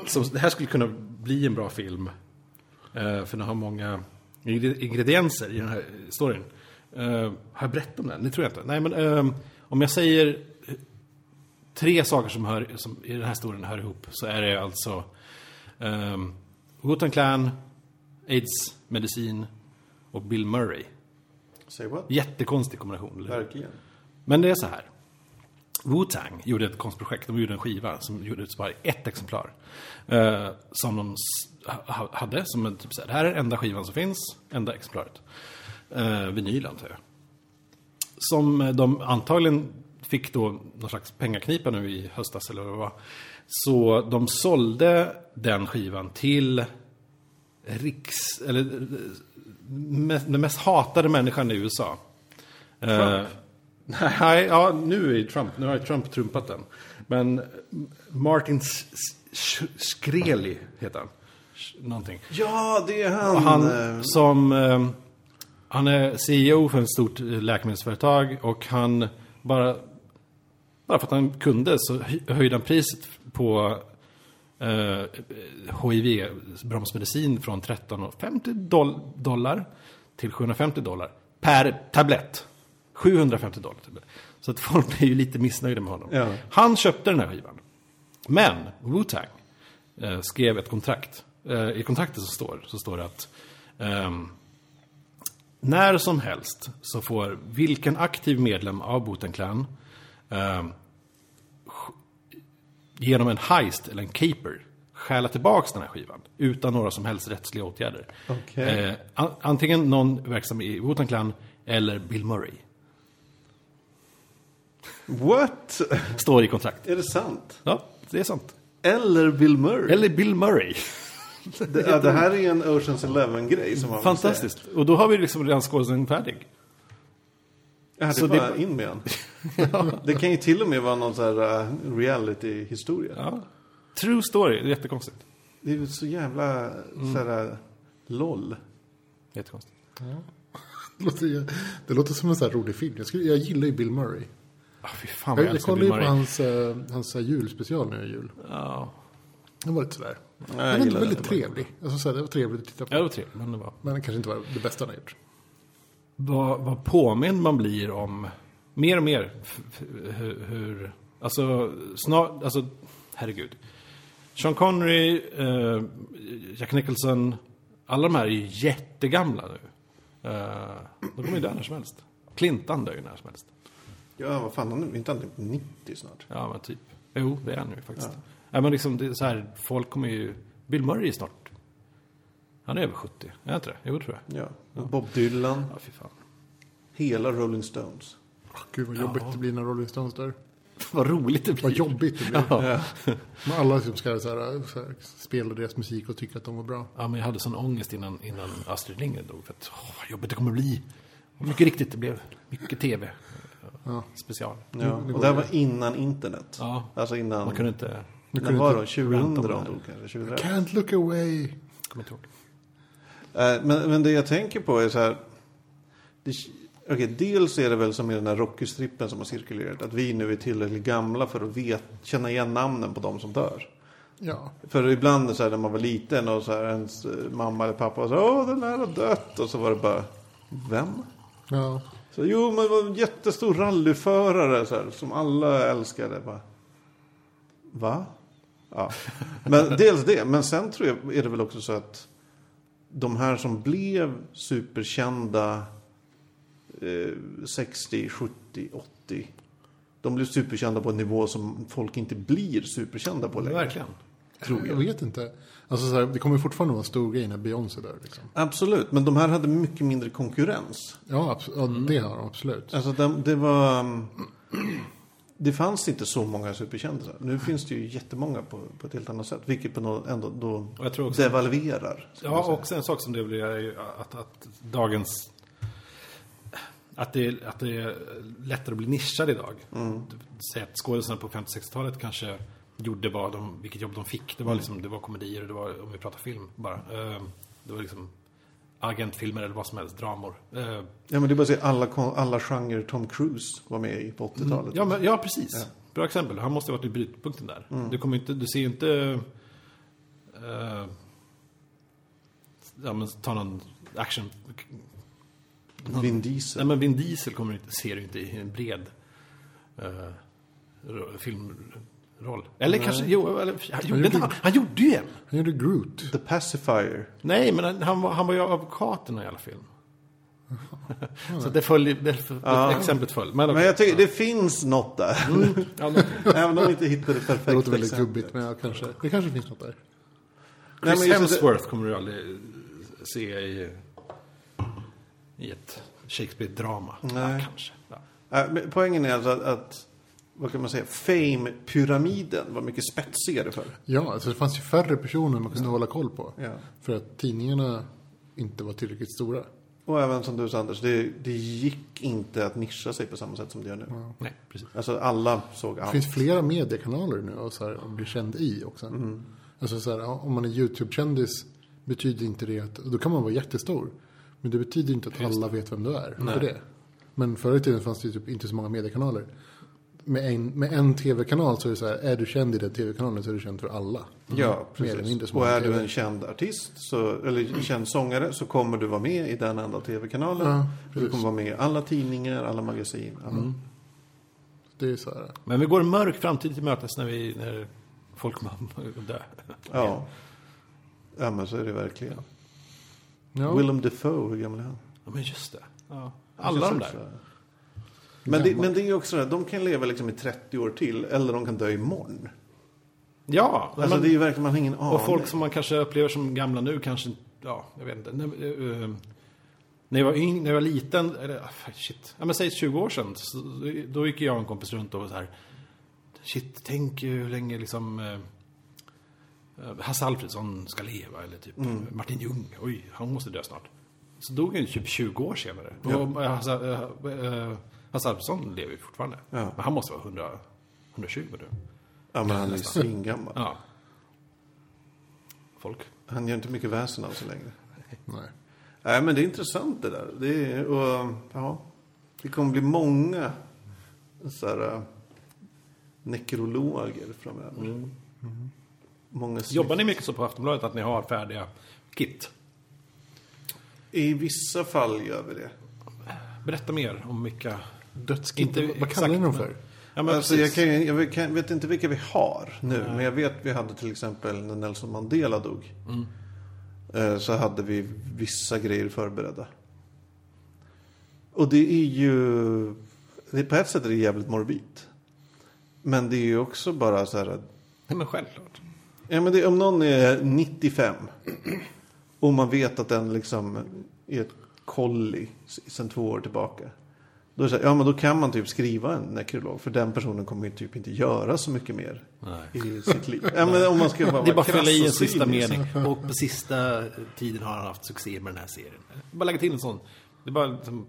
S3: så det här skulle kunna bli en bra film. Eh, för den har många ingre- ingredienser i den här storyn. ehm, Eh, har jag berättat om den? Det tror jag inte. Nej, men ehm, om jag säger tre saker som, hör, som i den här historien hör ihop så är det alltså um, Wu-Tang Clan, AIDS, medicin och Bill Murray.
S1: Say what?
S3: Jättekonstig kombination, eller hur?
S1: Verkligen.
S3: Men det är så här. Wu-Tang gjorde ett konstprojekt. De gjorde en skiva som gjordes bara i ett exemplar. Eh, som de s- ha- ha- hade som en typ så här. Det här är den enda skivan som finns. Enda exemplaret. Eh, vinyl antar jag. Som eh, de antagligen fick då någon slags pengaknipa nu i höstas eller vad det var. Så de sålde den skivan till riks... Eller eh, me- den mest hatade människan i USA. Trump? Eh, nej, ja, nu är Trump, nu har Trump trumpat den. Men Martin S- S- Skreli heter han. Sh- Någonting.
S1: Ja, det är han.
S3: Och
S1: eh,
S3: han som... eh, Han är CEO för ett stort eh, läkemedelsföretag och han bara... Bara för att han kunde så hö- höjde han priset på eh, HIV-bromsmedicin från 13,50 doll- dollar till 750 dollar per tablett. 750 dollar. tablett. Så att folk blir ju lite missnöjda med honom.
S1: Ja.
S3: Han köpte den här skivan. Men Wu-Tang eh, skrev ett kontrakt. Eh, I kontraktet så står, så står det att ehm, när som helst så får vilken aktiv medlem av Boten Clan ehm, sk- genom en heist eller en caper stjäla tillbaka den här skivan utan några som helst rättsliga åtgärder.
S1: Okej.
S3: Eh, an- antingen någon verksam i Boten Clan eller Bill Murray
S1: What?
S3: står i kontraktet.
S1: Är det sant?
S3: Ja, det är sant.
S1: Eller Bill Murray?
S3: Eller Bill Murray.
S1: det, ja, det här är en Oceans Eleven-grej. som man måste
S3: Fantastiskt. Och då har vi liksom redan skådespelaren färdig.
S1: säga. Ja, det
S3: Så
S1: är bara
S3: det-
S1: in med en. Det kan ju till och med vara någon så här eh, reality-historia.
S3: Ja. True story, det är jättekonstigt.
S1: Det är ju så jävla så här, eh, LOL.
S3: jättekonstigt.
S2: Det låter, det låter som en så här rolig film. Jag, skulle, jag gillar ju Bill Murray.
S3: Ah, fy fan vad
S2: Jag,
S3: jag,
S2: jag
S3: älskar
S2: kollade
S3: Bill
S2: ju på
S3: Murray.
S2: hans, eh, hans så här julspecial nu i jul.
S3: Ja,
S2: Den var lite sådär. Den
S1: jag
S2: var inte
S1: gillar
S2: väldigt
S1: den.
S2: trevlig. Alltså, så här, det var trevligt att titta på.
S3: Ja, det var trevligt. Men det var...
S2: Men det kanske inte var det bästa han har gjort.
S3: Vad, vad påmind man blir om mer och mer f- f- hur, hur alltså snart, alltså herregud. Sean Connery, eh, Jack Nicholson, alla de här är ju jättegamla nu. Eh, de kommer ju dö när som helst. Clintan dör ju när som helst.
S1: Ja, vad fan, han är inte han typ 90 snart?
S3: Ja, men typ. Jo, det är han nu faktiskt. Nej, men liksom, det är så här, folk kommer ju... Bill Murray är snart... Han är över 70. Är han inte det? Jo, det tror jag.
S1: Ja. Och Bob Dylan,
S3: Ja, fy fan.
S1: hela Rolling Stones.
S2: Åh, Gud vad jobbigt det blir när Rolling Stones dör.
S3: Vad roligt det blir.
S2: Vad jobbigt det blir. Men alla som ska så här, så här, spela deras musik och tycka att de var bra.
S3: Ja, men jag hade sån ångest innan, innan Astrid Lindgren dog. För att, åh, vad jobbigt det kommer bli. Och mycket riktigt, det blev mycket tv.
S2: Ja.
S3: Special.
S1: Ja. Och det här var innan internet.
S3: Ja.
S1: Alltså innan...
S3: Man kunde inte...
S1: När
S2: kunde
S1: var
S2: inte
S1: det? 2000
S3: ranta om
S1: han
S3: det.
S1: dog kanske? 2001?
S2: Can't look away.
S3: Kommer inte ihåg.
S1: Eh, Men, men det jag tänker på är så här. Det, okej, dels är det väl som i den här Rocky-strippen som har cirkulerat. Att vi nu är tillräckligt gamla för att vet, känna igen namnen på de som dör.
S2: Ja.
S1: För ibland så här, när man var liten och så här, ens eh, mamma eller pappa var så här, Åh, den här har dött. Och så var det bara, vem?
S2: ja.
S1: Så, jo, men det var en jättestor rallyförare så här, som alla älskade. Bara, Va? Ja. Men dels det, men sen tror jag är det väl också så att de här som blev superkända eh, 60, 70, 80. De blev superkända på en nivå som folk inte blir superkända på längre.
S3: Verkligen.
S2: jag. vet inte. Alltså, så här, det kommer fortfarande vara en stor grej när Beyoncé dör. Liksom.
S1: Absolut, men de här hade mycket mindre konkurrens.
S2: Ja, abs- ja
S1: Mm.
S2: det har de absolut.
S1: Alltså det, det var... um, Det fanns inte så många superkändisar. Nu finns det ju jättemånga på, på ett helt annat sätt. Vilket på något ändå då
S3: Och jag tror också-
S1: devalverar. ska man
S3: Ja,
S1: säga.
S3: också en sak som det blir är ju att, att dagens... Att det, är- att det är lättare att bli nischad idag.
S1: Mm.
S3: Säg att skådisarna på 50-60-talet kanske gjorde vad de, vilket jobb de fick. Det
S1: Mm.
S3: var, liksom, det var komedier, och det var, om vi pratar film bara. Eh, Det var liksom agentfilmer eller vad som helst, dramor. Eh,
S1: ja, men det är bara att se alla, kon- alla genrer Tom Cruise var med i på 80-talet.
S3: Ja, men, ja precis. Bra exempel. Han måste ha varit i brytpunkten där.
S1: Mm.
S3: Du, kommer inte, du ser ju inte... eh, ja, men ta någon action...
S1: Vin
S3: Nej,
S1: Diesel.
S3: men Vin Diesel kommer du inte, ser du inte i en bred eh, ro- filmroll. Eller kanske,
S1: Nej.
S3: jo, eller, han, gjorde
S2: gjorde
S3: inte, han, han gjorde ju en.
S2: Han gjorde Groot.
S1: The Pacifier.
S3: Nej, men han, han, var, han var ju advokaten i alla film. Så det föll, i- det, det, exemplet föll. Men,
S1: Men
S3: okej.
S1: jag tycker det finns något där.
S3: ja, men,
S1: Även om vi inte hittar det perfekta
S2: Det låter väldigt
S1: exemplet.
S2: gubbigt, men ja, kanske. det kanske finns något där.
S1: Nej, men
S3: Chris
S1: just det-
S3: Hemsworth kommer du aldrig se i, i ett Shakespeare-drama. Ja,
S1: Nej.
S3: kanske. Ja.
S1: Nej, men Poängen är alltså att, att vad kan man säga, fame-pyramiden var mycket spetsigare förr.
S2: Ja, alltså det fanns ju färre personer man kunde hålla koll på.
S1: Ja.
S2: För att tidningarna inte var tillräckligt stora.
S1: Och även som du sa Anders, det, det gick inte att nischa sig på samma sätt som det gör nu.
S3: Nej, precis.
S1: Alltså alla såg
S2: Det
S1: allt.
S2: finns flera mediekanaler nu och, så här, att bli känd i också.
S1: Mm.
S2: Alltså så här, ja, om man är YouTube-kändis betyder inte det att, och då kan man vara jättestor. Men det betyder inte att alla vet vem du är. För det. Men förr i tiden fanns det ju typ inte så många mediekanaler. Med en, med en tv-kanal så är det så här, är du känd i den tv-kanalen så är du känd för alla.
S1: Mm. Ja,
S2: Mer eller mindre
S1: precis.
S2: som
S1: Och är
S2: TV.
S1: du en känd artist, så, eller känd sångare, så kommer du vara med i den enda tv-kanalen.
S2: Ja,
S1: du
S2: precis. Mm.
S1: kommer vara med i alla tidningar, alla magasin. Alla.
S2: Det är så här,
S3: Men vi går en mörk framtid till mötes när, vi, när folk kommer att dö.
S1: Ja. ja, men så är det verkligen.
S2: ja,
S1: Willem Dafoe, hur gammal är han?
S3: Ja, men just det. Ja. Alla de där.
S1: Men det, men det är ju också det här, de kan leva liksom i 30 år till eller de kan dö imorgon.
S3: Ja,
S1: Alltså
S3: men,
S1: det är ju verkligen, man har ingen aning.
S3: och folk som man kanske upplever som gamla nu kanske inte- Ja, jag vet inte. När, eh, eh, när jag var yng, när jag var liten, eller ah, fan, shit, ja, men säg 20 år sedan, så, då gick jag och en kompis runt och var så här, shit, tänk hur länge liksom eh, eh, Hasse Alfredson ska leva, eller typ Martin Ljung, oj, han måste dö snart. Så dog han ju typ 20 år senare. Och eh, Hasse, eh, eh, Hasse Alfredson lever ju fortfarande.
S1: Ja.
S3: Men han måste vara 100, 120 nu.
S1: Ja, men han är ju svingammal.
S3: Ja. Folk.
S1: Han gör inte mycket väsen av sig längre.
S2: nej.
S1: Nej, men det är intressant det där. Det, är, och, ja, det kommer bli många så här, eh, nekrologer framöver. Många släkt-
S3: Jobbar ni mycket så på Aftonbladet att ni har färdiga kit?
S1: I vissa fall gör vi det.
S3: Berätta mer om vilka...
S2: Dödskit,
S3: Inte
S2: vad
S3: exakt,
S2: kallar ni dem
S3: men-
S2: för?
S3: Ja, men
S1: alltså, jag,
S3: precis.
S1: kan, ju- jag vet- kan, vet inte vilka vi har nu, men jag vet vi hade till exempel när Nelson Mandela dog.
S3: Mm.
S1: eh, Så hade vi vissa grejer förberedda. Och det är ju, det, på ett sätt är det jävligt morbid. Men det är ju också bara så här,
S3: Nej, men självklart.
S1: ja, men det, om någon är 95 och man vet att den liksom är ett kolli sedan två år tillbaka. Då, är det så här, ja, men då kan man typ skriva en nekrolog för den personen kommer ju typ inte göra så mycket mer
S3: Nej.
S1: i sitt liv. Ja, men om man ska vara
S3: Det är bara att
S1: krass
S3: fylla i
S1: och
S3: en sista
S1: cynisk.
S3: mening. Och på sista tiden har han haft succé med den här serien. Bara lägga till en sån. Det är bara liksom,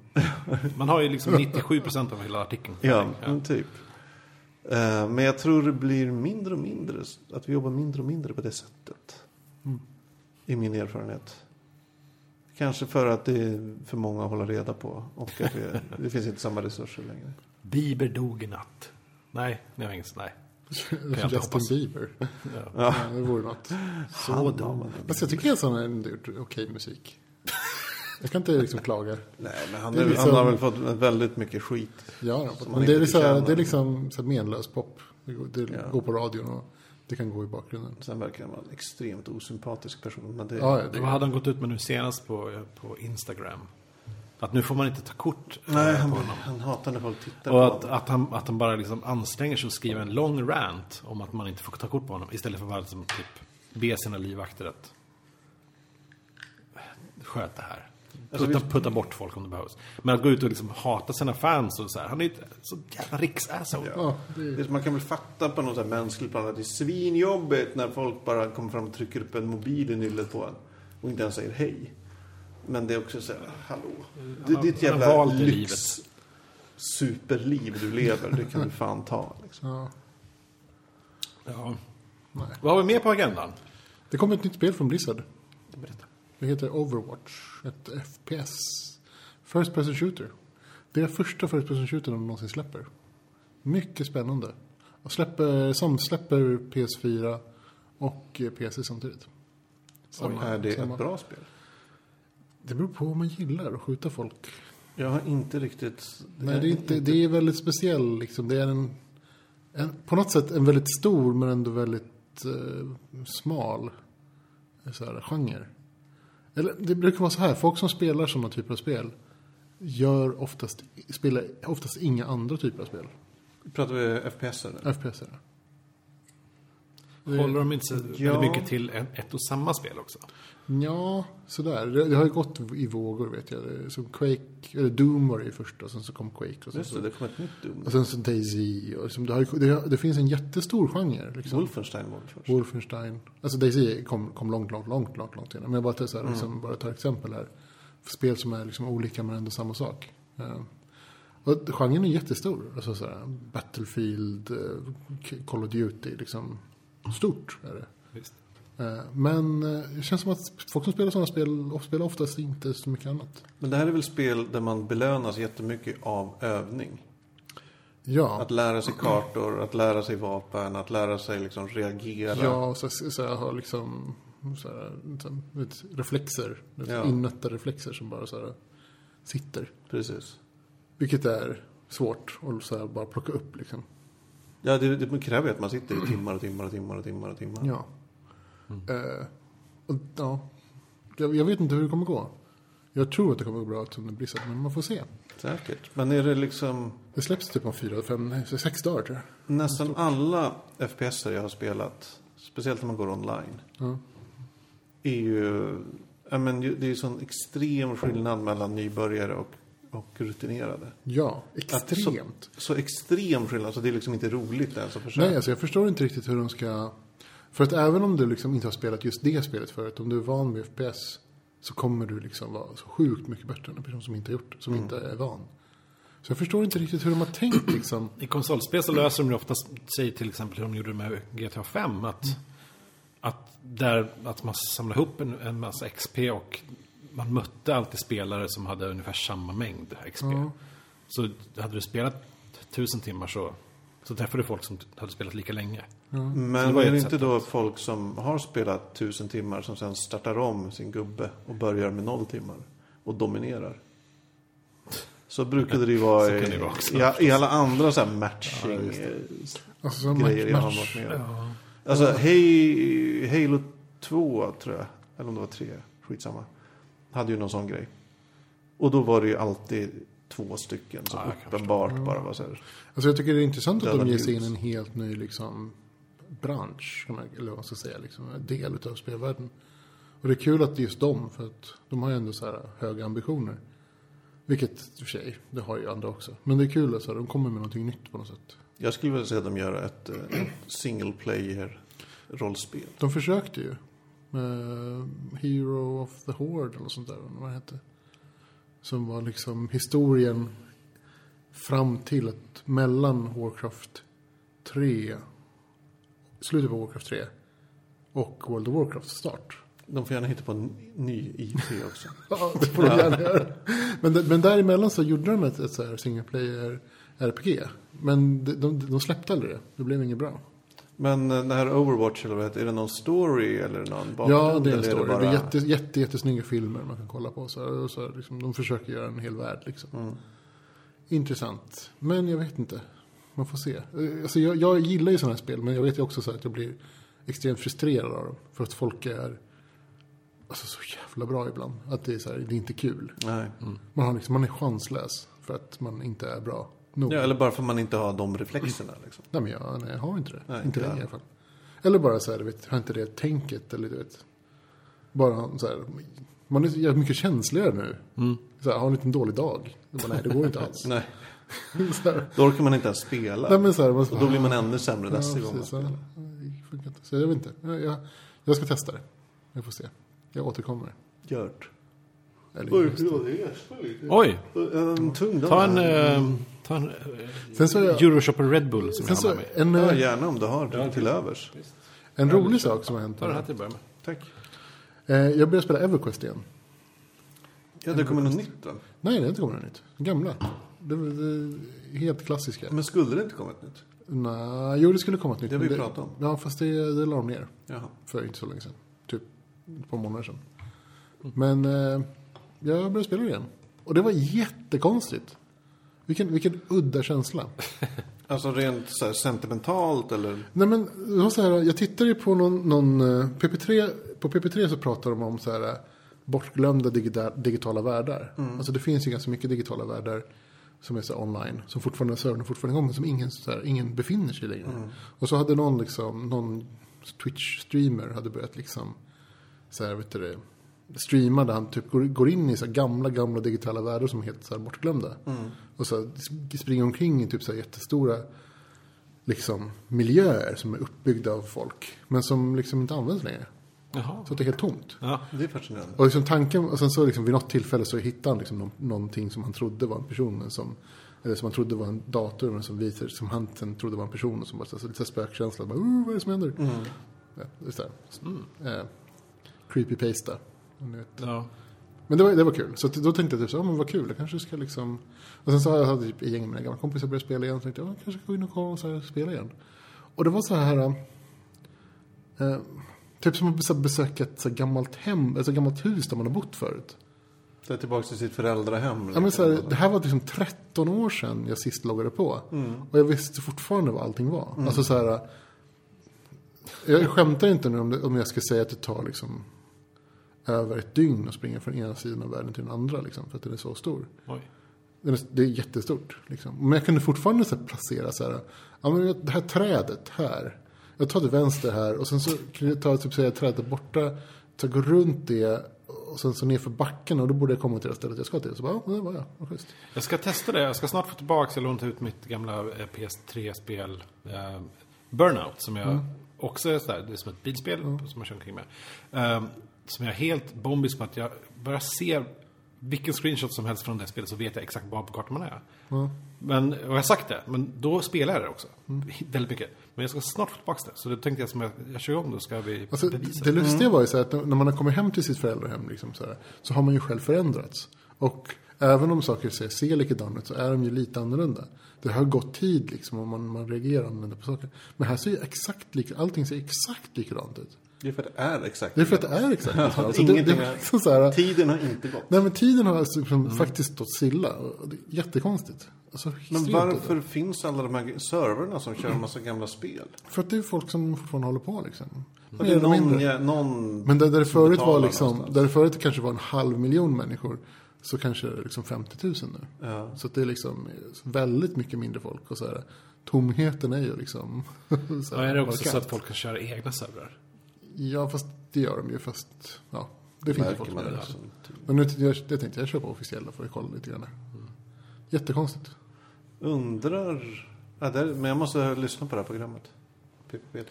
S3: man har ju liksom 97% av hela artikeln.
S1: Ja, men typ. Eh, Men jag tror det blir mindre och mindre, att vi jobbar mindre och mindre på det sättet. Mm. I min erfarenhet. Kanske för att det är för många att hålla reda på och att det, det finns inte samma resurser längre.
S3: Bieber dog i natt. Nej, ni har inget. Nej. jag inte
S2: Justin
S3: hoppas.
S2: Bieber. Ja. det vore något.
S1: Så dum.
S2: Fast jag tycker att han har ändå gjort okej musik. Jag kan inte liksom klaga.
S1: Nej, men han,
S2: Det är
S1: är,
S2: liksom-
S1: han har väl fått väldigt mycket skit.
S2: Ja, då.
S1: Som man
S2: men det är,
S1: inte
S2: så här,
S1: förtjänar.
S2: det är liksom så här menlös pop. Det, går, det
S1: Ja.
S2: går på radion och det kan gå i bakgrunden.
S1: Sen verkar han vara en extremt osympatisk person. Men det,
S2: Ja, ja,
S3: Vad
S2: det,
S3: hade han gått ut med nu senast på, på Instagram? Att nu får man inte ta kort eh,
S1: nej, han,
S3: på honom.
S1: han hatar när folk tittar
S3: Och
S1: på
S3: att,
S1: honom.
S3: att, han, att han bara liksom anstränger sig att skriva en lång rant om att man inte får ta kort på honom. Istället för att bara liksom typ be sina livvakter att sköt det här.
S1: Alltså,
S3: Putta, putta bort folk om det behövs. Men att gå ut och liksom hata sina fans och så här. Han är ju ett så jävla riksasshole.
S1: Ja.
S2: ja, det,
S1: Det är som man kan väl fatta på något så här mänskligt plan att det är svinjobbigt när folk bara kommer fram och trycker upp en mobil i nyllet på en och inte ens säger hej. Men det är också så här, hallå. Det, det är ett
S3: Han har
S1: jävla
S3: valt det
S1: lyx superliv du lever. Det kan du fan ta. Liksom.
S2: ja,
S3: Ja.
S2: nej.
S3: Vad har vi mer på agendan?
S2: det kommer ett nytt spel från Blizzard.
S3: Berätta.
S2: Det heter Overwatch. Ett FPS. First Person Shooter. Det är första First Person Shooter de någonsin släpper. Mycket spännande. Och släpper, som släpper PS4 och eh, PC samtidigt.
S1: Oj, är det ett bra spel?
S2: Det beror på om man gillar att skjuta folk.
S1: Jag har inte riktigt...
S2: Nej, det är, inte, det är väldigt speciell. Liksom. Det är en, en, på något sätt en väldigt stor men ändå väldigt eh, smal eh, så här, genre. Eller det brukar vara så här, folk som spelar sådana typer av spel gör oftast, spelar oftast inga andra typer av spel.
S1: Pratar vi FPS eller?
S2: FPS är det.
S3: Håller de inte så
S1: Ja.
S3: väldigt mycket till en- ett och samma spel också?
S2: Ja, sådär. Det, det har ju gått i vågor vet jag. Det- Som Quake, eller Doom var det ju först och sen så kom Quake. Och sen,
S1: Just det,
S2: så,
S1: det kom ett nytt Doom.
S3: Alltså-
S2: och sen så DayZ. Och liksom, det, har, ju- det, har- det finns en jättestor genre. Liksom.
S1: Wolfenstein var det först.
S2: Wolfenstein. Alltså DayZ kom, kom långt, långt, långt, långt, långt innan. Men jag bara, tar så här, liksom, bara tar exempel här. Spel som är liksom olika men ändå samma sak. Eh, och genren är jättestor. Alltså så här, Battlefield, eh, K- Call of Duty, liksom. Stort är det.
S3: Visst.
S2: Eh, Men eh, det känns som att folk som spelar sådana spel of- spelar oftast inte så mycket annat.
S1: Men det här är väl spel där man belönas jättemycket av övning.
S2: Ja,
S1: Att lära sig kartor, att lära sig vapen, att lära sig liksom reagera.
S2: ja och så, så jag har liksom så här, liksom, vet, reflexer.
S1: Ja.
S2: Ja. Innötta reflexer som bara så här, sitter.
S1: Precis.
S2: Vilket är svårt att så här, bara plocka upp liksom.
S1: Ja, det, det kräver ju att man sitter i timmar och timmar och timmar och timmar och timmar.
S2: Ja. Eh, och, ja. Jag, jag vet inte hur det kommer gå. Jag tror att det kommer gå bra som det Blizzard, men man får se.
S1: Säkert. Men är det liksom...
S2: Det släpps typ om fyra, fem, nej, sex dagar tror jag.
S1: Nästan alla FPS jag har spelat, speciellt när man går online,
S2: Ja.
S1: är ju... Ja, men ju- det är ju sån extrem skillnad mellan nybörjare och, och rutinerade.
S2: Ja,
S1: Att det är
S2: extremt.
S1: Så, så extrem skillnad så det är liksom inte roligt ens att försöka.
S2: Nej, alltså jag förstår inte riktigt hur de ska... För att även om du liksom inte har spelat just det spelet förut, om du är van vid FPS så kommer du liksom vara så sjukt mycket bättre än en person som inte har gjort som
S1: Mm.
S2: inte är van. Så jag förstår inte riktigt hur de har tänkt liksom.
S3: I konsolspel så löser de det oftast, säg till exempel hur de gjorde med GTA 5, att, att, där, att man samlade ihop en, en massa XP och man mötte alltid spelare som hade ungefär samma mängd XP. Så hade du spelat tusen timmar så, så träffade du folk som hade spelat lika länge. Så det
S1: Men
S3: var ju
S1: är det
S3: ett
S1: inte
S3: sätt
S1: då folk som har spelat tusen timmar som sen startar om sin gubbe och börjar med noll timmar och dominerar? Så brukade det ju vara,
S3: Så kan
S1: i,
S3: det ju vara också,
S1: i, i alla andra så här matching
S2: Alltså, så
S1: eh,
S2: match,
S1: grejer jag har varit
S2: match,
S1: med om. Alltså Hey- Halo 2 tror jag, eller om det var 3, skitsamma. Hade ju någon sån grej. Och då var det ju alltid två stycken som
S3: Ja, jag kan Mm.
S1: uppenbart bara var så här.
S2: alltså jag tycker det är intressant att
S1: Döda
S2: de ger sig in i
S1: dudes.
S2: en helt ny liksom, bransch, kan man- eller vad man ska säga, liksom, en del av spelvärlden. Och det är kul att det är just dem, för att de har ju ändå så här höga ambitioner. Vilket i och för sig, det har ju andra också. Men det är kul att så här, de kommer med någonting nytt på något sätt.
S1: Jag skulle vilja se dem göra ett, eh, ett single player rollspel.
S2: De försökte ju. Med Hero of the Horde eller något sånt där. eller Vad det hette. Som var liksom historien fram till att mellan Warcraft 3, slutet på Warcraft 3 och World of Warcraft start.
S1: De får gärna hitta på en ny IP också.
S2: Ja, det får de gärna göra. Men, men däremellan så gjorde de ett, ett så här single player RPG. Men de, de, de släppte aldrig det. Det blev inget bra.
S1: Men eh, det här Overwatch eller vad det heter, är det någon story eller någon bakgrund?
S2: Ja, det är
S1: eller
S2: en story.
S1: bara-
S2: Det är jätte, jätte, jättesnygga filmer man kan kolla på. Så här, och så här, liksom, de försöker göra en hel värld. Liksom.
S1: Mm.
S2: Intressant. Men jag vet inte. Man får se. Eh, Alltså, jag, jag gillar ju sådana här spel, men jag vet ju också så här, att jag blir extremt frustrerad av dem. För att folk är alltså, så jävla bra ibland. Att det är, så här, det är inte kul.
S1: Nej.
S2: Man, har liksom, man är chanslös för att man inte är bra nog.
S1: Ja, eller bara för att man inte har de reflexerna. Liksom.
S2: Nej, men jag, nej, jag har inte det.
S1: Nej,
S2: inte
S1: inte
S2: längre
S1: jag.
S2: i alla fall. Eller bara så här, du vet, har inte det tänket eller du vet. Bara så här, man är så jävla mycket känsligare nu.
S1: Mm.
S2: Så här, har en liten dålig dag. Jag Bara, nej, det går inte alls.
S1: Nej.
S2: så här,
S1: Då orkar man inte ens spela.
S2: nej, men så här, man,
S1: Och då blir man ännu sämre nästa gång man
S2: precis, ja.
S1: spelar.
S2: Det funkar inte. Så jag vet inte. Jag, jag, jag ska testa det. Jag får se. Jag återkommer.
S1: Gjort.
S2: Eller,
S1: Oj,
S2: just det.
S1: förlåt, det är lite.
S3: Oj,
S1: En tung dag.
S3: ta en, eh, ta en eh,
S2: sen så, har jag,
S3: Euroshopper Red Bull som jag
S2: sen så
S3: handlar med.
S2: en,
S1: Ja,
S2: eh,
S1: gärna om du har till övers.
S2: en rolig sak som har hänt.
S3: Ta den här till att börja med.
S1: Tack.
S2: Eh, Jag började spela Everquest igen.
S1: Ja, det kommer något nytt va?
S2: Nej, det har inte kommit något nytt. Gamla. Det, var- det, helt klassiska.
S1: Men skulle det inte komma ett nytt?
S2: Nej, jo det skulle komma ett nytt.
S1: Det har vi
S2: men
S1: pratat om.
S2: Ja, fast det, det la de ner
S1: Jaha.
S2: för inte så länge sedan. Typ ett par månader sedan.
S1: Mm.
S2: Men eh, jag började spela det igen. Och det var jättekonstigt. Vilken, vilken udda känsla.
S1: Alltså rent så här sentimentalt eller?
S2: Nej men, det var så här, jag tittade ju på någon, någon eh, PP3, på PP3 så pratar de om så här, eh, bortglömda digida- digitala världar. Alltså det finns ju ganska mycket digitala världar som är så här, online, som fortfarande servern är fortfarande igång, men som ingen, så här, ingen befinner sig i längre. Och så hade någon, liksom, någon Twitch-streamer hade börjat liksom, så här, vet du det, streama där han typ går, går in i så här gamla, gamla digitala världar som är helt så här bortglömda. Och så här, sp- springer omkring i typ så här jättestora liksom, miljöer som är uppbyggda av folk. Men som liksom inte används längre.
S3: Jaha.
S2: Så att det är helt tomt.
S3: Ja.
S1: Det är fascinerande.
S2: Och liksom tanken, och sen så liksom vid något tillfälle så hittade han liksom någon, någonting som han trodde var en person. Men som, eller som han trodde var en dator men som, visade, som han sen trodde var en person. Och som bara så, så lite spökkänsla. Bara, "Uh, vad är det som händer? Ja, just det. Eh, creepypasta. om ni vet.
S3: Ja.
S2: Men det var, det var kul. Så att då tänkte jag typ så, ja men vad kul, jag kanske ska liksom... Och sen så hade jag typ ett gäng med mina gamla kompisar börjat spela igen. Så tänkte jag, ja, jag kanske ska gå in och kolla och så här, spela igen. Och det var så här... Eh, typ som att så här besöka ett så här gammalt hem, ett så här gammalt hus där man har bott förut.
S1: Det är tillbaka till sitt föräldrahem.
S2: Ja, men så här, det här var liksom 13 år sedan jag sist loggade på. Och jag visste fortfarande vad allting var. Alltså så här, jag skämtar inte nu om, det, om jag ska säga att det tar liksom över ett dygn att springa från ena sidan av världen till den andra. Liksom, för att den är så stor.
S3: Oj.
S2: Den är, det är jättestort. Liksom. Men jag kunde fortfarande så här, placera så här, ja, men det här trädet här. Jag tar till vänster här och sen så kunde jag ta typ, så här, trädet där borta. Så gå runt det och sen så ner för backen och då borde jag komma till det stället jag ska till. Så bara, ja, där var jag. Vad schysst.
S3: Jag ska testa det. Jag ska snart få tillbaka, jag lånat ut mitt gamla eh, PS3-spel eh, Burnout. Som
S2: Mm.
S3: jag också är sådär, det är som ett bilspel som jag kör omkring med. Eh, som jag är helt bombisk på att jag bara ser vilken screenshot som helst från det spelet så vet jag exakt var på kartan man är.
S2: Mm.
S3: Men, och jag har sagt det, men då spelar jag det också. Väldigt mycket. Men jag ska snart få tillbaka det. Så då tänkte jag som jag, jag kör igång då ska vi
S2: Alltså,
S3: bevisa.
S2: det lustiga var ju så här att när man har kommit hem till sitt föräldrahem liksom, så, här, så har man ju själv förändrats. Och även om saker ser, ser likadana ut så är de ju lite annorlunda. Det har gått tid liksom och man, man reagerar annorlunda på saker. Men här ser ju exakt lika, allting ser exakt likadant ut.
S1: Det är för att det är exakt
S2: Det är för att det är exakt likadant. Alltså, det, det,
S1: ingenting
S2: är
S1: är- Mm.
S2: liksom så här,
S1: Tiden har inte gått.
S2: nej men tiden har alltså, liksom, faktiskt stått stilla. Och det är Jättekonstigt. Alltså,
S1: Men
S2: extremt udda.
S1: varför finns alla de här servrarna som kör en massa gamla spel?
S2: För att det är folk som fortfarande håller på liksom.
S1: Och
S2: Mer
S1: det är
S2: eller mindre.
S1: någon, ja, någon...
S2: Men där, där det förut var
S1: betalar
S2: liksom,
S1: någonstans.
S2: där det förut kanske var en halv miljon människor så kanske det är liksom 50 000 nu. Så att det är liksom väldigt mycket mindre folk och så här, tomheten är ju liksom... så
S3: och
S2: här
S3: är det också
S2: markant.
S3: så att folk kan köra egna servrar?
S2: Ja, fast det gör de ju fast, ja, det finns ju folk
S1: Märker
S2: som
S1: man
S2: gör det.
S1: det.
S2: Alltså.
S1: som typ.
S2: Men nu jag, jag tänkte jag kör på officiella för att kolla lite grann. Jättekonstigt.
S1: Undrar... Ja, där, men jag måste lyssna på det här programmet. PPP3.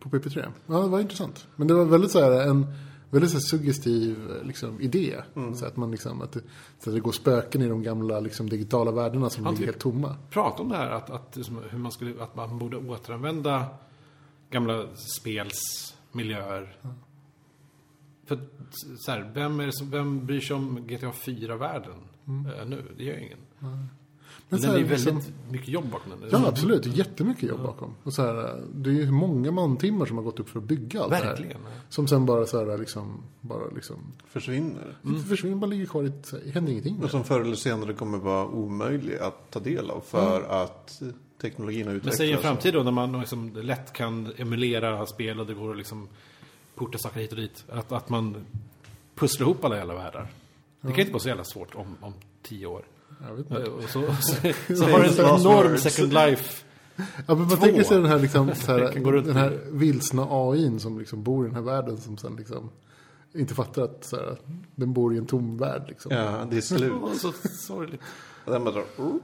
S2: På PP3. Ja, det var intressant. Men det var väldigt så här en väldigt så här suggestiv eh, liksom, idé.
S3: Mm.
S2: Så att man liksom, att det, så att det går spöken i de gamla liksom, digitala världarna som
S3: Ja,
S2: ligger
S3: typ.
S2: helt tomma.
S3: prata om det här att, att, liksom, hur man skulle, att man borde återanvända gamla spelsmiljöer.
S2: Mm.
S3: För att, så här, vem, är det som, vem bryr sig om GTA 4-världen eh, nu? Det gör ingen. Men
S2: Mm. så
S3: den
S2: här,
S3: är ju väldigt
S2: liksom-
S3: mycket jobb bakom den.
S2: Ja, absolut. Det är jättemycket jobb bakom. Och så här, det är ju många mantimmar som har gått upp för att bygga allt det här.
S3: Verkligen.
S2: Som sen bara så här, liksom, bara liksom,
S1: Försvinner.
S3: Mm.
S2: försvinner, bara ligger kvar i, ett- så här, händer ingenting.
S1: Och
S2: Med.
S1: som förr eller senare kommer vara omöjlig att ta del av för
S2: Mm.
S1: att teknologin har
S3: Men
S1: utvecklats.
S3: säg en framtid då när man liksom lätt kan emulera spel och det går att liksom porta saker hit och dit. Att, att man pusslar ihop alla jävla världar. Det kan inte vara så jävla svårt om, om tio år.
S2: Jag vet
S3: Eh,
S2: inte.
S3: Och så, så, så har det en
S1: Last
S3: enorm
S1: words.
S3: second life.
S2: Ja, men man
S3: Två.
S2: tänker sig den här, liksom, så
S3: Jag
S2: här,
S3: kan gå runt
S2: den här vilsna AIn som liksom bor i den här världen som sen liksom inte fattar att så här, den bor i en tom värld. Liksom.
S1: Ja, det är slut.
S3: Åh, Så sorgligt.
S1: Den bara, "Oh."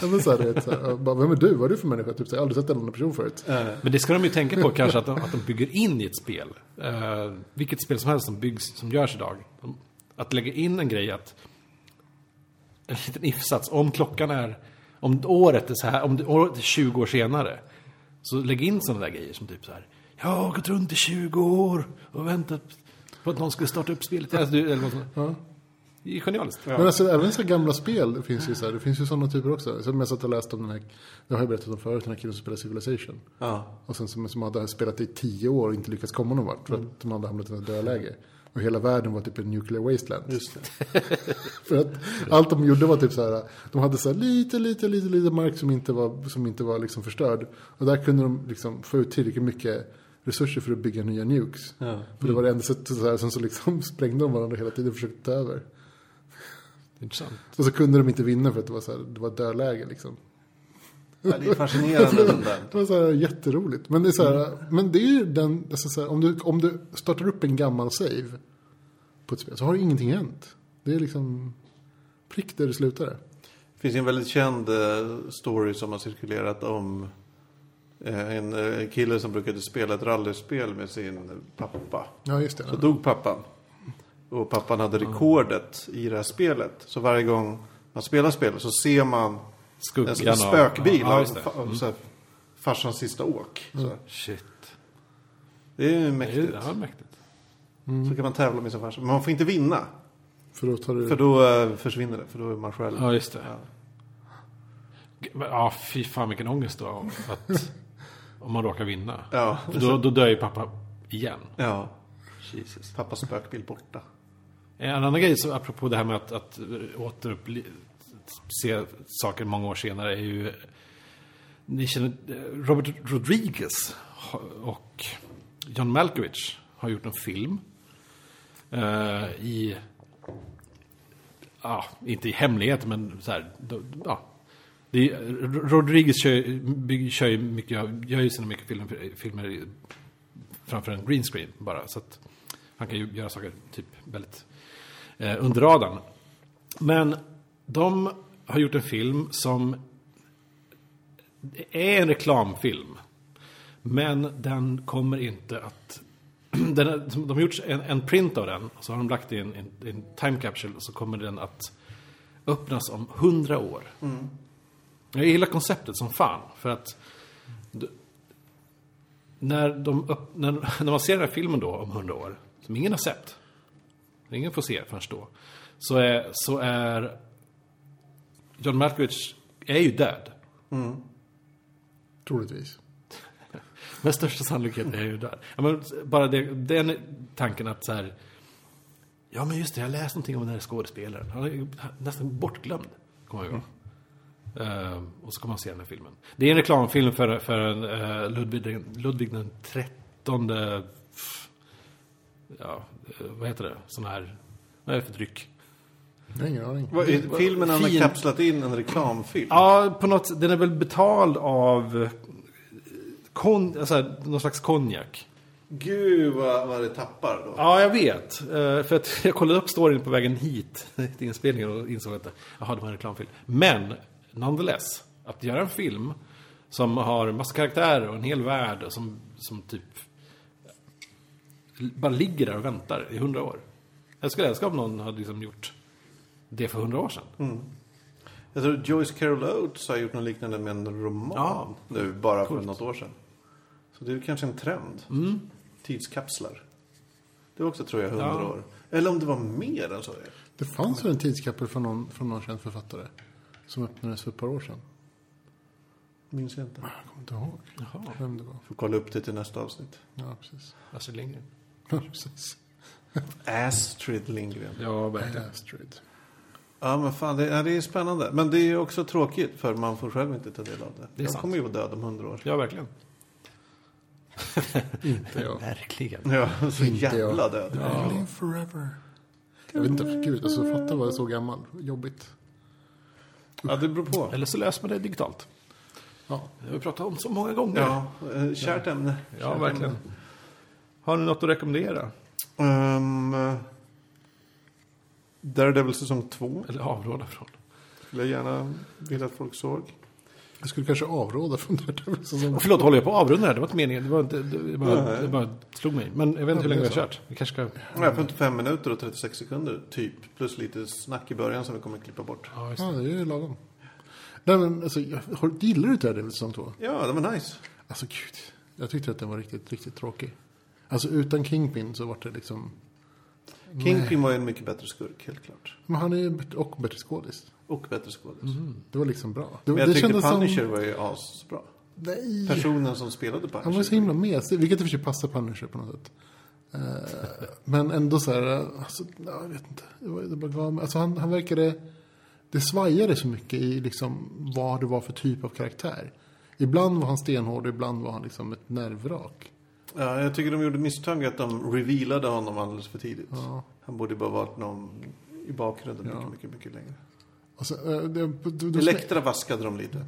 S2: Ja, men så här, du vet, så här, bara, vem är du? Vad är du för människa? Typ, så här, jag har aldrig sett en annan person förut.
S3: Men det ska de ju tänka på kanske att de, att de bygger in i ett spel. Eh, vilket spel som helst som byggs, som görs idag. De- Att lägga in en grej att en liten ifsats, om klockan är, om året är så här, om det- året är 20 år senare. Så lägg in sådana där grejer som typ så här, jag har gått runt i 20 år och väntat på att någon skulle starta upp spelet. Alltså, du- eller något sånt. Det är genialiskt.
S2: Men alltså, även så här gamla spel det finns ju så här, det finns ju sådana typer också. Som jag satt och läste om den här, jag har ju berättat om förut, den här killen som spelar Civilization.
S1: Ja.
S3: Mm.
S2: Och sen som, som hade spelat i tio år och inte lyckats komma någon vart. För att de hade hamnat i ett dödläge. Och hela världen var typ en nuclear wasteland.
S1: Just det.
S2: För att allt de gjorde var typ så här. De hade så här lite, lite, lite, lite mark som inte var, som inte var liksom förstörd. Och där kunde de liksom få ut tillräckligt mycket resurser för att bygga nya nukes.
S1: Ja.
S2: För det var det enda sättet. Så här, sen så liksom sprängde de varandra hela tiden och försökte ta över.
S3: Intressant.
S2: Och så kunde de inte vinna för att det var, så här, det var dödläge liksom.
S1: Ja, det är fascinerande den där.
S2: Det var så här jätteroligt. Men det är så här, men det är ju den, alltså så här, om, du, om du startar upp en gammal save på ett spel så har ju ingenting hänt. Det är liksom prick där det slutade.
S1: Det finns ju en väldigt känd eh, story som har cirkulerat om eh, en eh, kille som brukade spela ett rallyspel med sin pappa.
S2: Ja, just det.
S1: Så dog pappan. Och pappan hade rekordet i det här spelet. Så varje gång man spelar spelet så ser man en sån
S3: Skuggan
S1: här Alltså, spökbil
S3: Ja,
S1: av
S3: just det. Mm.
S1: fa- av så här farsans sista åk. Så. här.
S3: Shit.
S1: Det är ju
S3: Det är,
S1: mäktigt.
S3: det Mm. här är mäktigt.
S1: Så kan man tävla med sin farsa. Men man får inte vinna.
S2: För då tar du...
S1: För då eh, försvinner det. För då är man själv.
S3: Ja, just det. G- Men, ja, fy fan vilken ångest det var om att, om man råkar vinna.
S1: Ja.
S3: För Då, då dör ju pappa igen.
S1: ja.
S3: Jesus.
S1: Pappas spökbil borta.
S3: Eh, En annan grej, så apropå det här med att, att återupple- se saker många år senare, är ju... Ni känner eh, Robert Rodriguez och John Malkovich har gjort en film. eh, I... Ja, inte i hemlighet, men så här... då- Ja. Det är, Rodriguez kör, ju- bygger- kör ju mycket, gör ju sina mycket filmer, filmer i- framför en green screen bara. Så att han kan ju göra saker typ väldigt eh, under radarn. Men de har gjort en film som är en reklamfilm. Men den kommer inte att... Den, är- de har gjort en, en print av den. Så har de lagt in en, en time capsule. Och så kommer den att öppnas om hundra år. Jag gillar konceptet som fan. För att när, de upp, när, när man ser den här filmen då om 100 år, som ingen har sett, ingen får se förrän då, så är, så är John Malkovich är ju död.
S2: Troligtvis.
S3: Med största sannolikhet är ju där. Ja, men bara det, den tanken att så här. Ja, men just det, jag läste någonting om den här skådespelaren. Han är ju nästan bortglömd, kommer jag ihåg. Ehm, och så kommer man se den här filmen. Det är en reklamfilm för, för en, eh, Ludvig, den- Ludvig den trettonde... Ja, eh, vad heter det? Sån här... Vad är det för dryck?
S2: Jag har ingen aning.
S1: Vad- i Filmen har man
S3: Fin.
S1: kapslat in en reklamfilm.
S3: Ja, på något Den är väl betald av... eh, Kon, alltså, någon slags konjak.
S1: Gud vad, vad det tappar då.
S3: Ja, jag vet. Eh, För att jag kollade upp storyn på vägen hit till inspelningen och insåg att jaha, det var en reklamfilm. Men, nonetheless, att göra en film som har massa karaktärer och en hel värld och som, som typ bara ligger där och väntar i hundra år. Jag skulle älska om någon hade liksom gjort det för hundra år sedan.
S1: Jag tror Joyce Carol Oates har gjort något liknande med en roman
S3: Ja.
S1: nu bara för något år sedan. Så det är kanske en trend. Tidskapslar. Det var också tror jag hundra
S3: Mm. Ja.
S1: år. Eller om det var mer än så.
S2: Det fanns väl en tidskapsel från någon, från någon känd författare. Som öppnades för ett par år sedan.
S1: Minns jag inte.
S2: Jag kommer inte ihåg
S3: Jaha,
S2: vem det var.
S1: Får kolla upp det till nästa avsnitt.
S2: Ja, precis.
S3: Astrid Lindgren.
S2: Ja, precis.
S1: Astrid Lindgren.
S3: Ja, verkligen.
S2: Astrid.
S1: Ja men fan det, ja, det är spännande. Men det är ju också tråkigt för man får själv inte ta del av det.
S3: Det är
S1: jag
S3: sant.
S1: kommer ju vara död om hundra år.
S3: Ja, verkligen.
S2: Inte jag.
S3: Verkligen.
S1: Ja, så
S2: Inte jag.
S1: jävla död.
S2: Live forever. Jag vet inte, för gud, alltså fatta vad jag är så gammal. Jobbigt.
S1: Ja det beror på.
S3: Eller så löser man det digitalt.
S2: Ja,
S3: Det har vi pratat om så många gånger.
S1: Ja, eh, kärt ämne.
S3: Ja,
S1: Kärt
S3: verkligen.
S1: ämne.
S3: Har ni något att rekommendera?
S1: Um, Daredevil säsong 2
S3: Eller avråda från?
S1: skulle jag gärna vilja att folk såg.
S2: jag skulle kanske avråda från det här. Säsong.
S3: Och förlåt, håller jag på att avrunda här? Det var inte meningen. Det, var inte, det, bara, det bara slog mig. Men jag vet inte hur länge vi har kört. Vi kanske ska...
S1: Jag är på 5 minuter och 36 sekunder typ. Plus lite snack i början som vi kommer att klippa bort.
S3: Ja, just
S2: Ja, det är ju lagom. Nej men alltså, jag, har- gillar du inte det här säsong två?
S1: Ja, det var nice.
S2: Alltså gud, jag tyckte att den var riktigt, riktigt tråkig. Alltså utan Kingpin så var det liksom,
S1: Kingpin var ju en mycket bättre skurk, helt klart.
S2: men han är ju bättre, och bättre skådis.
S1: Och bättre skådis.
S2: Det var liksom bra. Det,
S1: Men jag
S2: det
S1: tyckte Punisher
S2: som,
S1: var ju asbra.
S2: nej,
S1: Personen som spelade Punisher.
S2: han var så himla mesig, vilket i och för sig passar Punisher på något sätt. Eh, Men ändå så här, alltså, ja, jag vet inte. Det var- det bara gav mig- Alltså han, han verkade, det svajade så mycket i liksom vad det var för typ av karaktär. Ibland var han stenhård och ibland var han liksom ett nervrak.
S1: Ja, jag tycker de gjorde misstaget att de revealade honom alldeles för tidigt.
S2: Ja.
S1: Han borde bara varit någon i bakgrunden
S2: Ja.
S1: mycket, mycket, mycket längre.
S2: Och så, eh, det, det, det,
S1: Elektra vaskade de lite.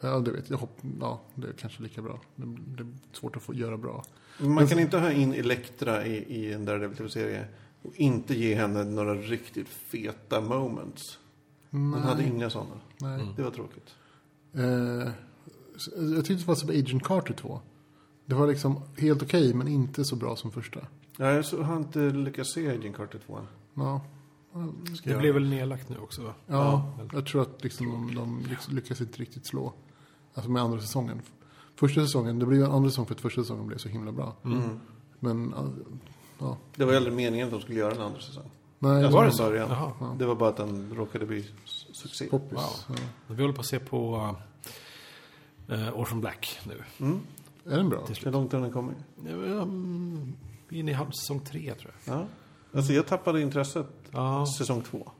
S2: ja, det vet jag. Hopp, ja, det är kanske lika bra. Det, det är svårt att få göra bra.
S1: Man kan inte ha in Elektra i, i en Daredevil tv-serie och inte ge henne några riktigt feta moments. Hon hade Mm. inga sådana.
S2: Nej.
S3: Mm.
S1: Det var tråkigt.
S2: Eh, så- jag tyckte det var som Agent Carter 2. Det var liksom helt okej, men inte så bra som första.
S1: Ja, jag så- har inte lyckats se Agent Carter 2 än.
S2: Ja,
S1: Ska
S3: Det
S1: jag-
S3: blev väl nedlagt nu också va?
S2: ja jag tror att liksom de, de lyck- lyckas inte riktigt slå. Alltså med andra säsongen. Första säsongen, det blev ju en andra säsong för att första säsongen blev så himla bra.
S1: Mm.
S2: Men, eh, ja, ja.
S1: Det var ju aldrig meningen att de skulle göra en andra säsong.
S2: Nej,
S1: Alltså,
S3: det
S1: från
S3: så?
S1: början.
S3: Jaha.
S2: Ja.
S1: Det var bara att den råkade bli s- succé.
S2: poppis.
S3: Wow.
S2: Ja.
S3: Vi håller på att se på uh, Orphan Black nu.
S1: Mm.
S2: Är den bra?
S3: Till slut.
S1: Hur långt har den kommit?
S3: Um, inne i halv säsong tre tror jag.
S1: Ja. Alltså jag tappade intresset
S3: Ja,
S1: säsong två.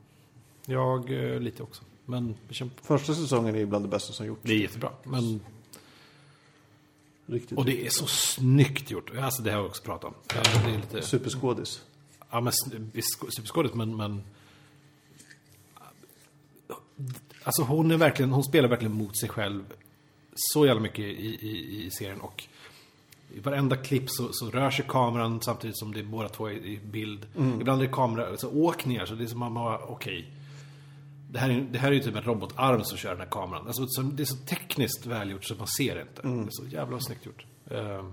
S3: jag eh, lite också. Men vi kämpar.
S1: Första säsongen är bland det bästa som gjorts.
S3: Det är jättebra. Men,
S1: Riktigt.
S3: och det är så snyggt gjort. Alltså det har jag också pratat om. Ja, Det är lite,
S1: Superskådis.
S3: ja, men, sn- sk- superskådis men, men... Alltså hon är verkligen, hon spelar verkligen mot sig själv. Så jävla mycket i, i, i serien och i varenda klipp så, så rör sig kameran samtidigt som det är båda två i, i bild. Ibland är det kamera, alltså åkningar så det är som man bara, okej. det, här är, det här är ju typ en robotarm som kör den här kameran. Alltså, så, det är så tekniskt välgjort så man ser det inte. Det är så jävla snyggt gjort. Eh,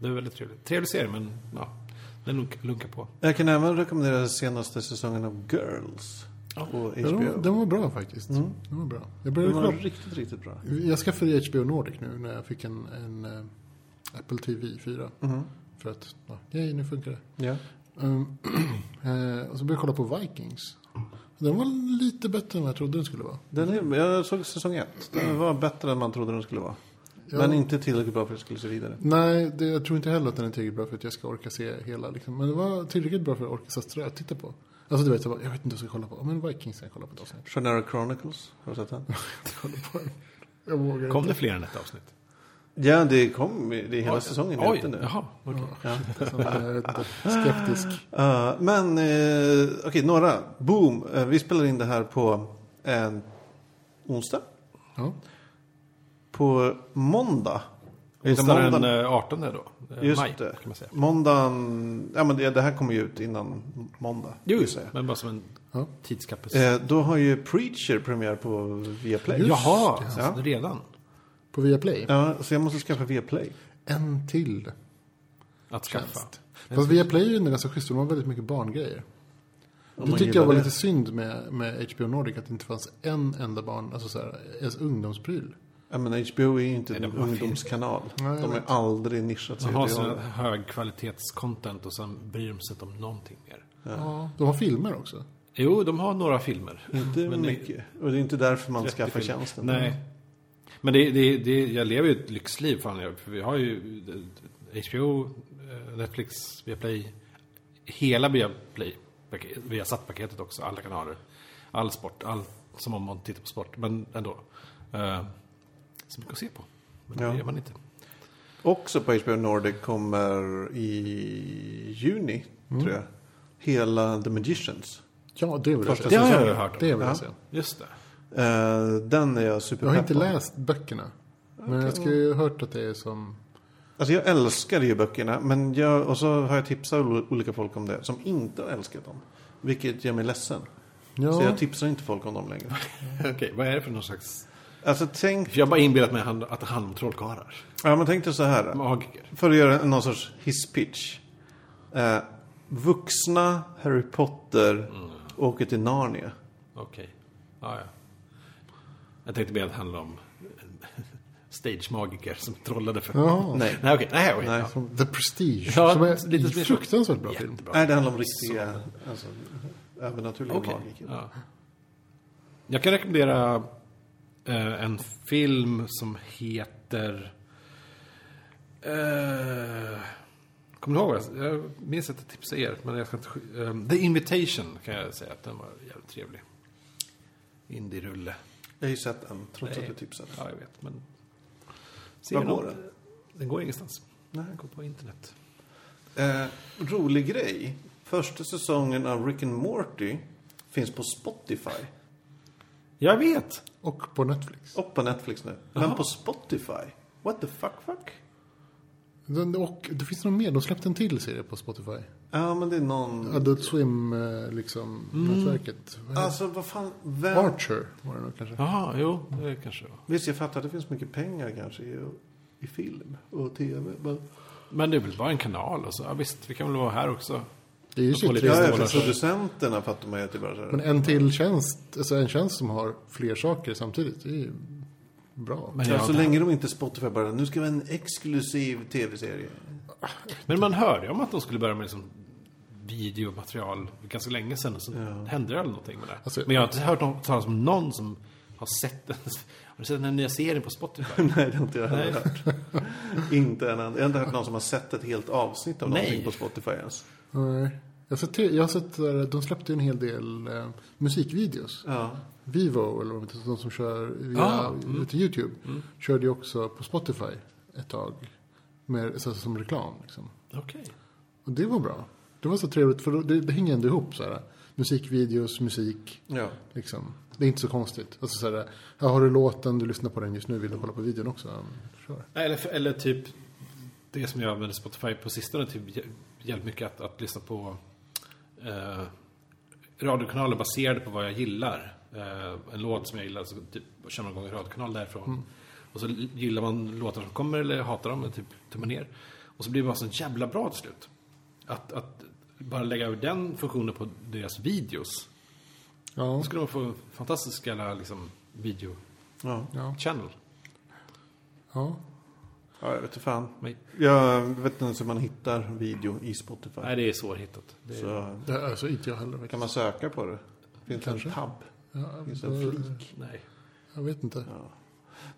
S3: det är väldigt trevligt. Trevlig serie men ja, den lunk, lunkar på.
S1: Jag kan även rekommendera senaste säsongen av Girls.
S3: Ja.
S1: På
S2: Ja,
S1: HBO.
S2: den, den var bra faktiskt. Den var bra. Jag började
S1: Den var
S2: kolla
S1: riktigt, riktigt bra.
S2: Jag skaffade HBO Nordic nu när jag fick en, en eh, Apple TV 4. För att, ja, yay, nu funkar det.
S1: Ja.
S2: Ehm, eh, och så började jag kolla på Vikings. Den var lite bättre än vad jag trodde den skulle vara.
S1: Den är, jag såg säsong ett. Den var bättre än man trodde den skulle vara.
S2: Ja.
S1: Men inte tillräckligt bra för att jag skulle se vidare.
S2: Nej, det, jag tror inte heller att den är tillräckligt bra för att jag ska orka se hela. Liksom. Men det var tillräckligt bra för att orka satsa där och titta på. Alltså du vet, jag, bara, jag vet inte vad jag ska kolla på. Ja, Men Vikings kan jag kolla på ett avsnitt.
S1: Shannara Chronicles, har du sett den?
S2: Jag kollar på den. Jag vågar
S3: Kom
S2: inte.
S3: det fler än ett avsnitt?
S1: Ja, det kom. Det är hela säsongen
S3: Oj,
S1: ute nu.
S3: Jaha, okej.
S2: Så, alltså, jag är lite skeptisk.
S1: Eh, men, uh, okej, några. Boom. Eh, vi spelar in det här på en onsdag.
S2: Ja.
S1: På måndag.
S3: Onsdag
S1: Måndag-
S3: den eh, 18 då. Eh,
S1: Just
S3: maj,
S1: det.
S3: kan man säga.
S1: Måndagen, ja men det, det här kommer ju ut innan måndag.
S3: Jo,
S1: vill
S3: just
S1: säga.
S3: det. Men bara som en
S2: Ja.
S3: tidskapelse.
S1: Eh, då har ju Preacher premiär på Viaplay.
S3: Jaha,
S1: det.
S3: alltså, redan?
S2: På Viaplay.
S1: Ja, så jag måste skaffa Viaplay.
S2: En till.
S3: Att skaffa?
S2: Fast Viaplay är ju ändå ganska schysst. De har väldigt mycket barngrejer.
S1: Om man
S2: det tyckte
S1: gillar
S2: jag var
S1: det.
S2: lite synd med, med HBO Nordic. Att det inte fanns en enda barn, alltså så här, ens ungdomspryl.
S1: Ja, men HBO är ju inte
S3: Nej,
S1: en
S3: de har fel.
S1: ungdomskanal.
S2: Nej, jag
S1: de har
S2: vet.
S1: aldrig nischat sig.
S3: De har
S1: åt det
S3: sån
S1: hållet.
S3: högkvalitetscontent och sen bryr de sig inte om någonting mer.
S2: Ja. De har filmer också.
S3: Jo, de har några filmer.
S1: Inte
S3: Mm, Men det-
S1: mycket. Och det är inte därför man
S3: 30
S1: skaffar
S3: filmer.
S1: tjänsten.
S3: Nej. Men det, det, det, jag lever ju ett lyxliv. Fan. Jag- För vi har ju eh, HBO, eh, Netflix, Viaplay. Hela Viaplay. Via paketet också. Alla kanaler. All sport. All, som om man tittar på sport. Men ändå. Eh, så mycket att se på. Men
S1: Ja.
S3: det gör man inte.
S1: Också på HBO Nordic kommer i juni,
S2: Mm.
S1: tror jag. Hela The Magicians.
S2: Ja, det vill jag
S1: Första
S3: Det
S2: se.
S3: har jag
S1: säsongen.
S3: ju hört om.
S2: Det vill
S1: Ja.
S2: jag se.
S3: Just det.
S1: Eh, den är jag
S2: Jag har
S1: superpepp
S2: inte
S1: på.
S2: läst böckerna. Men jag skulle ju hört att det är som...
S1: Alltså jag älskar ju böckerna. Men jag, och så har jag tipsat ol- olika folk om det. Som inte har älskat dem. Vilket gör mig ledsen. Så
S2: Ja,
S1: jag tipsar inte folk om dem längre.
S3: Okej, vad är det för någon slags...
S1: Alltså tänk,
S3: För jag har bara inbillat mig han- att det handlar om trollkarlar.
S1: ja, men tänk dig så här.
S3: Magiker.
S1: För att göra någon sorts hisspitch. Eh, vuxna Harry Potter åker till Narnia.
S3: Okej. Ja, ja. Jag tänkte mer att det handlade om stagemagiker som trollade för...
S2: Jaha.
S1: Nej.
S3: Nej, okej. Nej, okej.
S1: Nej.
S3: Ja.
S2: som The Prestige.
S3: Ja,
S2: som är
S3: lite
S2: lite
S3: som-
S2: fruktansvärt bra film.
S3: Jättebra.
S1: Nej, det handlar om riktiga, alltså, övernaturliga
S3: Okej.
S1: magiker.
S3: Ja. Jag kan rekommendera eh, en film som heter... Eh, Kommer du ihåg? vad Jag jag minns att jag tipsade er, men jag ska inte... sk- ehm, The Invitation kan jag säga att den var jävligt trevlig. Indie-rulle.
S1: Jag har ju sett den, trots att typ du tipsade.
S3: Ja, jag vet, men...
S1: Var
S3: vi
S1: går
S3: någon-
S1: den?
S3: Den går ingenstans. Nej, den går på internet.
S1: Eh, rolig grej. Första säsongen av Rick and Morty finns på Spotify.
S3: Jag vet!
S2: Och på Netflix.
S1: Och på Netflix nu. Men på Spotify? What the fuck fuck?
S2: Den, och det finns någon mer. De släppte en till serie på Spotify.
S1: Ja, men det är någon...
S2: Adult Swim, eh, liksom, nätverket. Vad heter
S1: Alltså, vad fan... Vem...
S2: det? Archer var det nog kanske.
S3: Jaha, jo, det kanske det var.
S1: Visst, jag fattar att det finns mycket pengar kanske i, i film och tv. Men...
S3: Men det är väl bara en kanal och så. Ja, visst, vi kan väl vara här också.
S2: Det är ju
S3: Och på
S2: shit.
S3: lite-
S2: det är-
S1: Ja,
S3: dollar.
S1: ja, för producenterna fattar man ju att det bara så
S2: Men
S1: här.
S2: en till tjänst, alltså en tjänst som har fler saker samtidigt, det är ju bra.
S3: Men,
S1: Ja,
S3: jag,
S1: så länge de inte Spotify bara, nu ska vi ha en exklusiv tv-serie.
S3: men man hörde ju om att de skulle börja med liksom videomaterial för ganska länge sedan. och Så hände det aldrig någonting med det.
S2: Alltså-
S3: men jag har inte hört någon- talas om någon som har sett den. Har du sett den här nya serien på Spotify?
S1: Nej, det har inte jag heller
S3: Nej.
S1: hört. inte en enda. Jag har inte hört någon som har sett ett helt avsnitt av
S3: Nej.
S1: någonting på Spotify ens.
S2: Nej. Jag har sett, jag har sett eh, de släppte ju en hel del eh, musikvideos.
S1: Ja.
S2: Vivo, eller vad de heter, de som kör via
S3: Ah, Mm.
S2: till YouTube, körde ju också på Spotify ett tag. Med, så, som reklam liksom.
S3: Okej.
S2: Och det var bra. Det var så trevligt, för det, det hänger ändå ihop så här. Musikvideos, musik.
S1: ja.
S2: Liksom. Det är inte så konstigt. Alltså så här, här har du låten, du lyssnar på den just nu, vill du kolla på videon också? Ja, Kör.
S3: Nej, Eller, eller typ det som jag använder Spotify på sistone typ hj- jävligt mycket att, att lyssna på eh, radiokanaler baserade på vad jag gillar. Eh, en låt som jag gillar så typ, kör man igång en radiokanal därifrån. Och så l- gillar man låtar som kommer eller hatar dem, eller typ tummar ner. Och så blir det bara så jävla bra till slut. Att, att bara lägga över den funktionen på deras videos.
S2: Ja.
S3: Då skulle man få en fantastisk jävla liksom, video-channel.
S1: Ja.
S2: Ja. ja.
S1: ja, jag vet inte fan.
S3: Men-
S1: Jag vet inte ens hur man hittar video i Spotify.
S3: Nej, det är svårhittat. Det är...
S1: Så
S2: Det är alltså inte jag heller.
S1: kan
S2: verkligen.
S1: man söka på det? Finns det en
S2: Kanske.
S1: tabb?
S2: Ja,
S1: Finns det en
S2: då-
S1: flik?
S3: Nej.
S2: jag vet inte.
S1: Mm.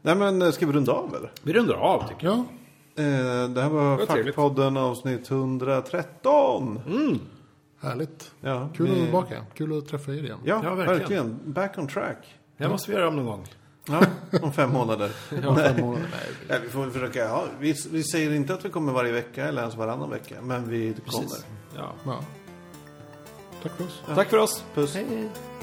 S1: Nej men eh, ska vi runda av eller?
S3: Vi rundar av tycker jag.
S2: Ja,
S1: Eh, det här var
S3: Vad trevligt.
S1: Fackpodden avsnitt 113.
S2: härligt.
S1: Ja,
S2: Kul att
S1: vi-
S2: vara tillbaka. Kul att träffa er igen.
S1: Ja,
S3: Ja, verkligen.
S1: verkligen. Back on track.
S3: Det här måste vi göra om någon gång.
S1: Ja, om fem månader.
S2: Fem månader. Nej,
S1: Nej, vi får väl försöka. Ja, vi, vi säger inte att vi kommer varje vecka eller ens varannan vecka. Men vi kommer.
S3: Ja.
S2: ja. Tack för oss.
S3: Tack för oss.
S1: Puss.
S3: Hej.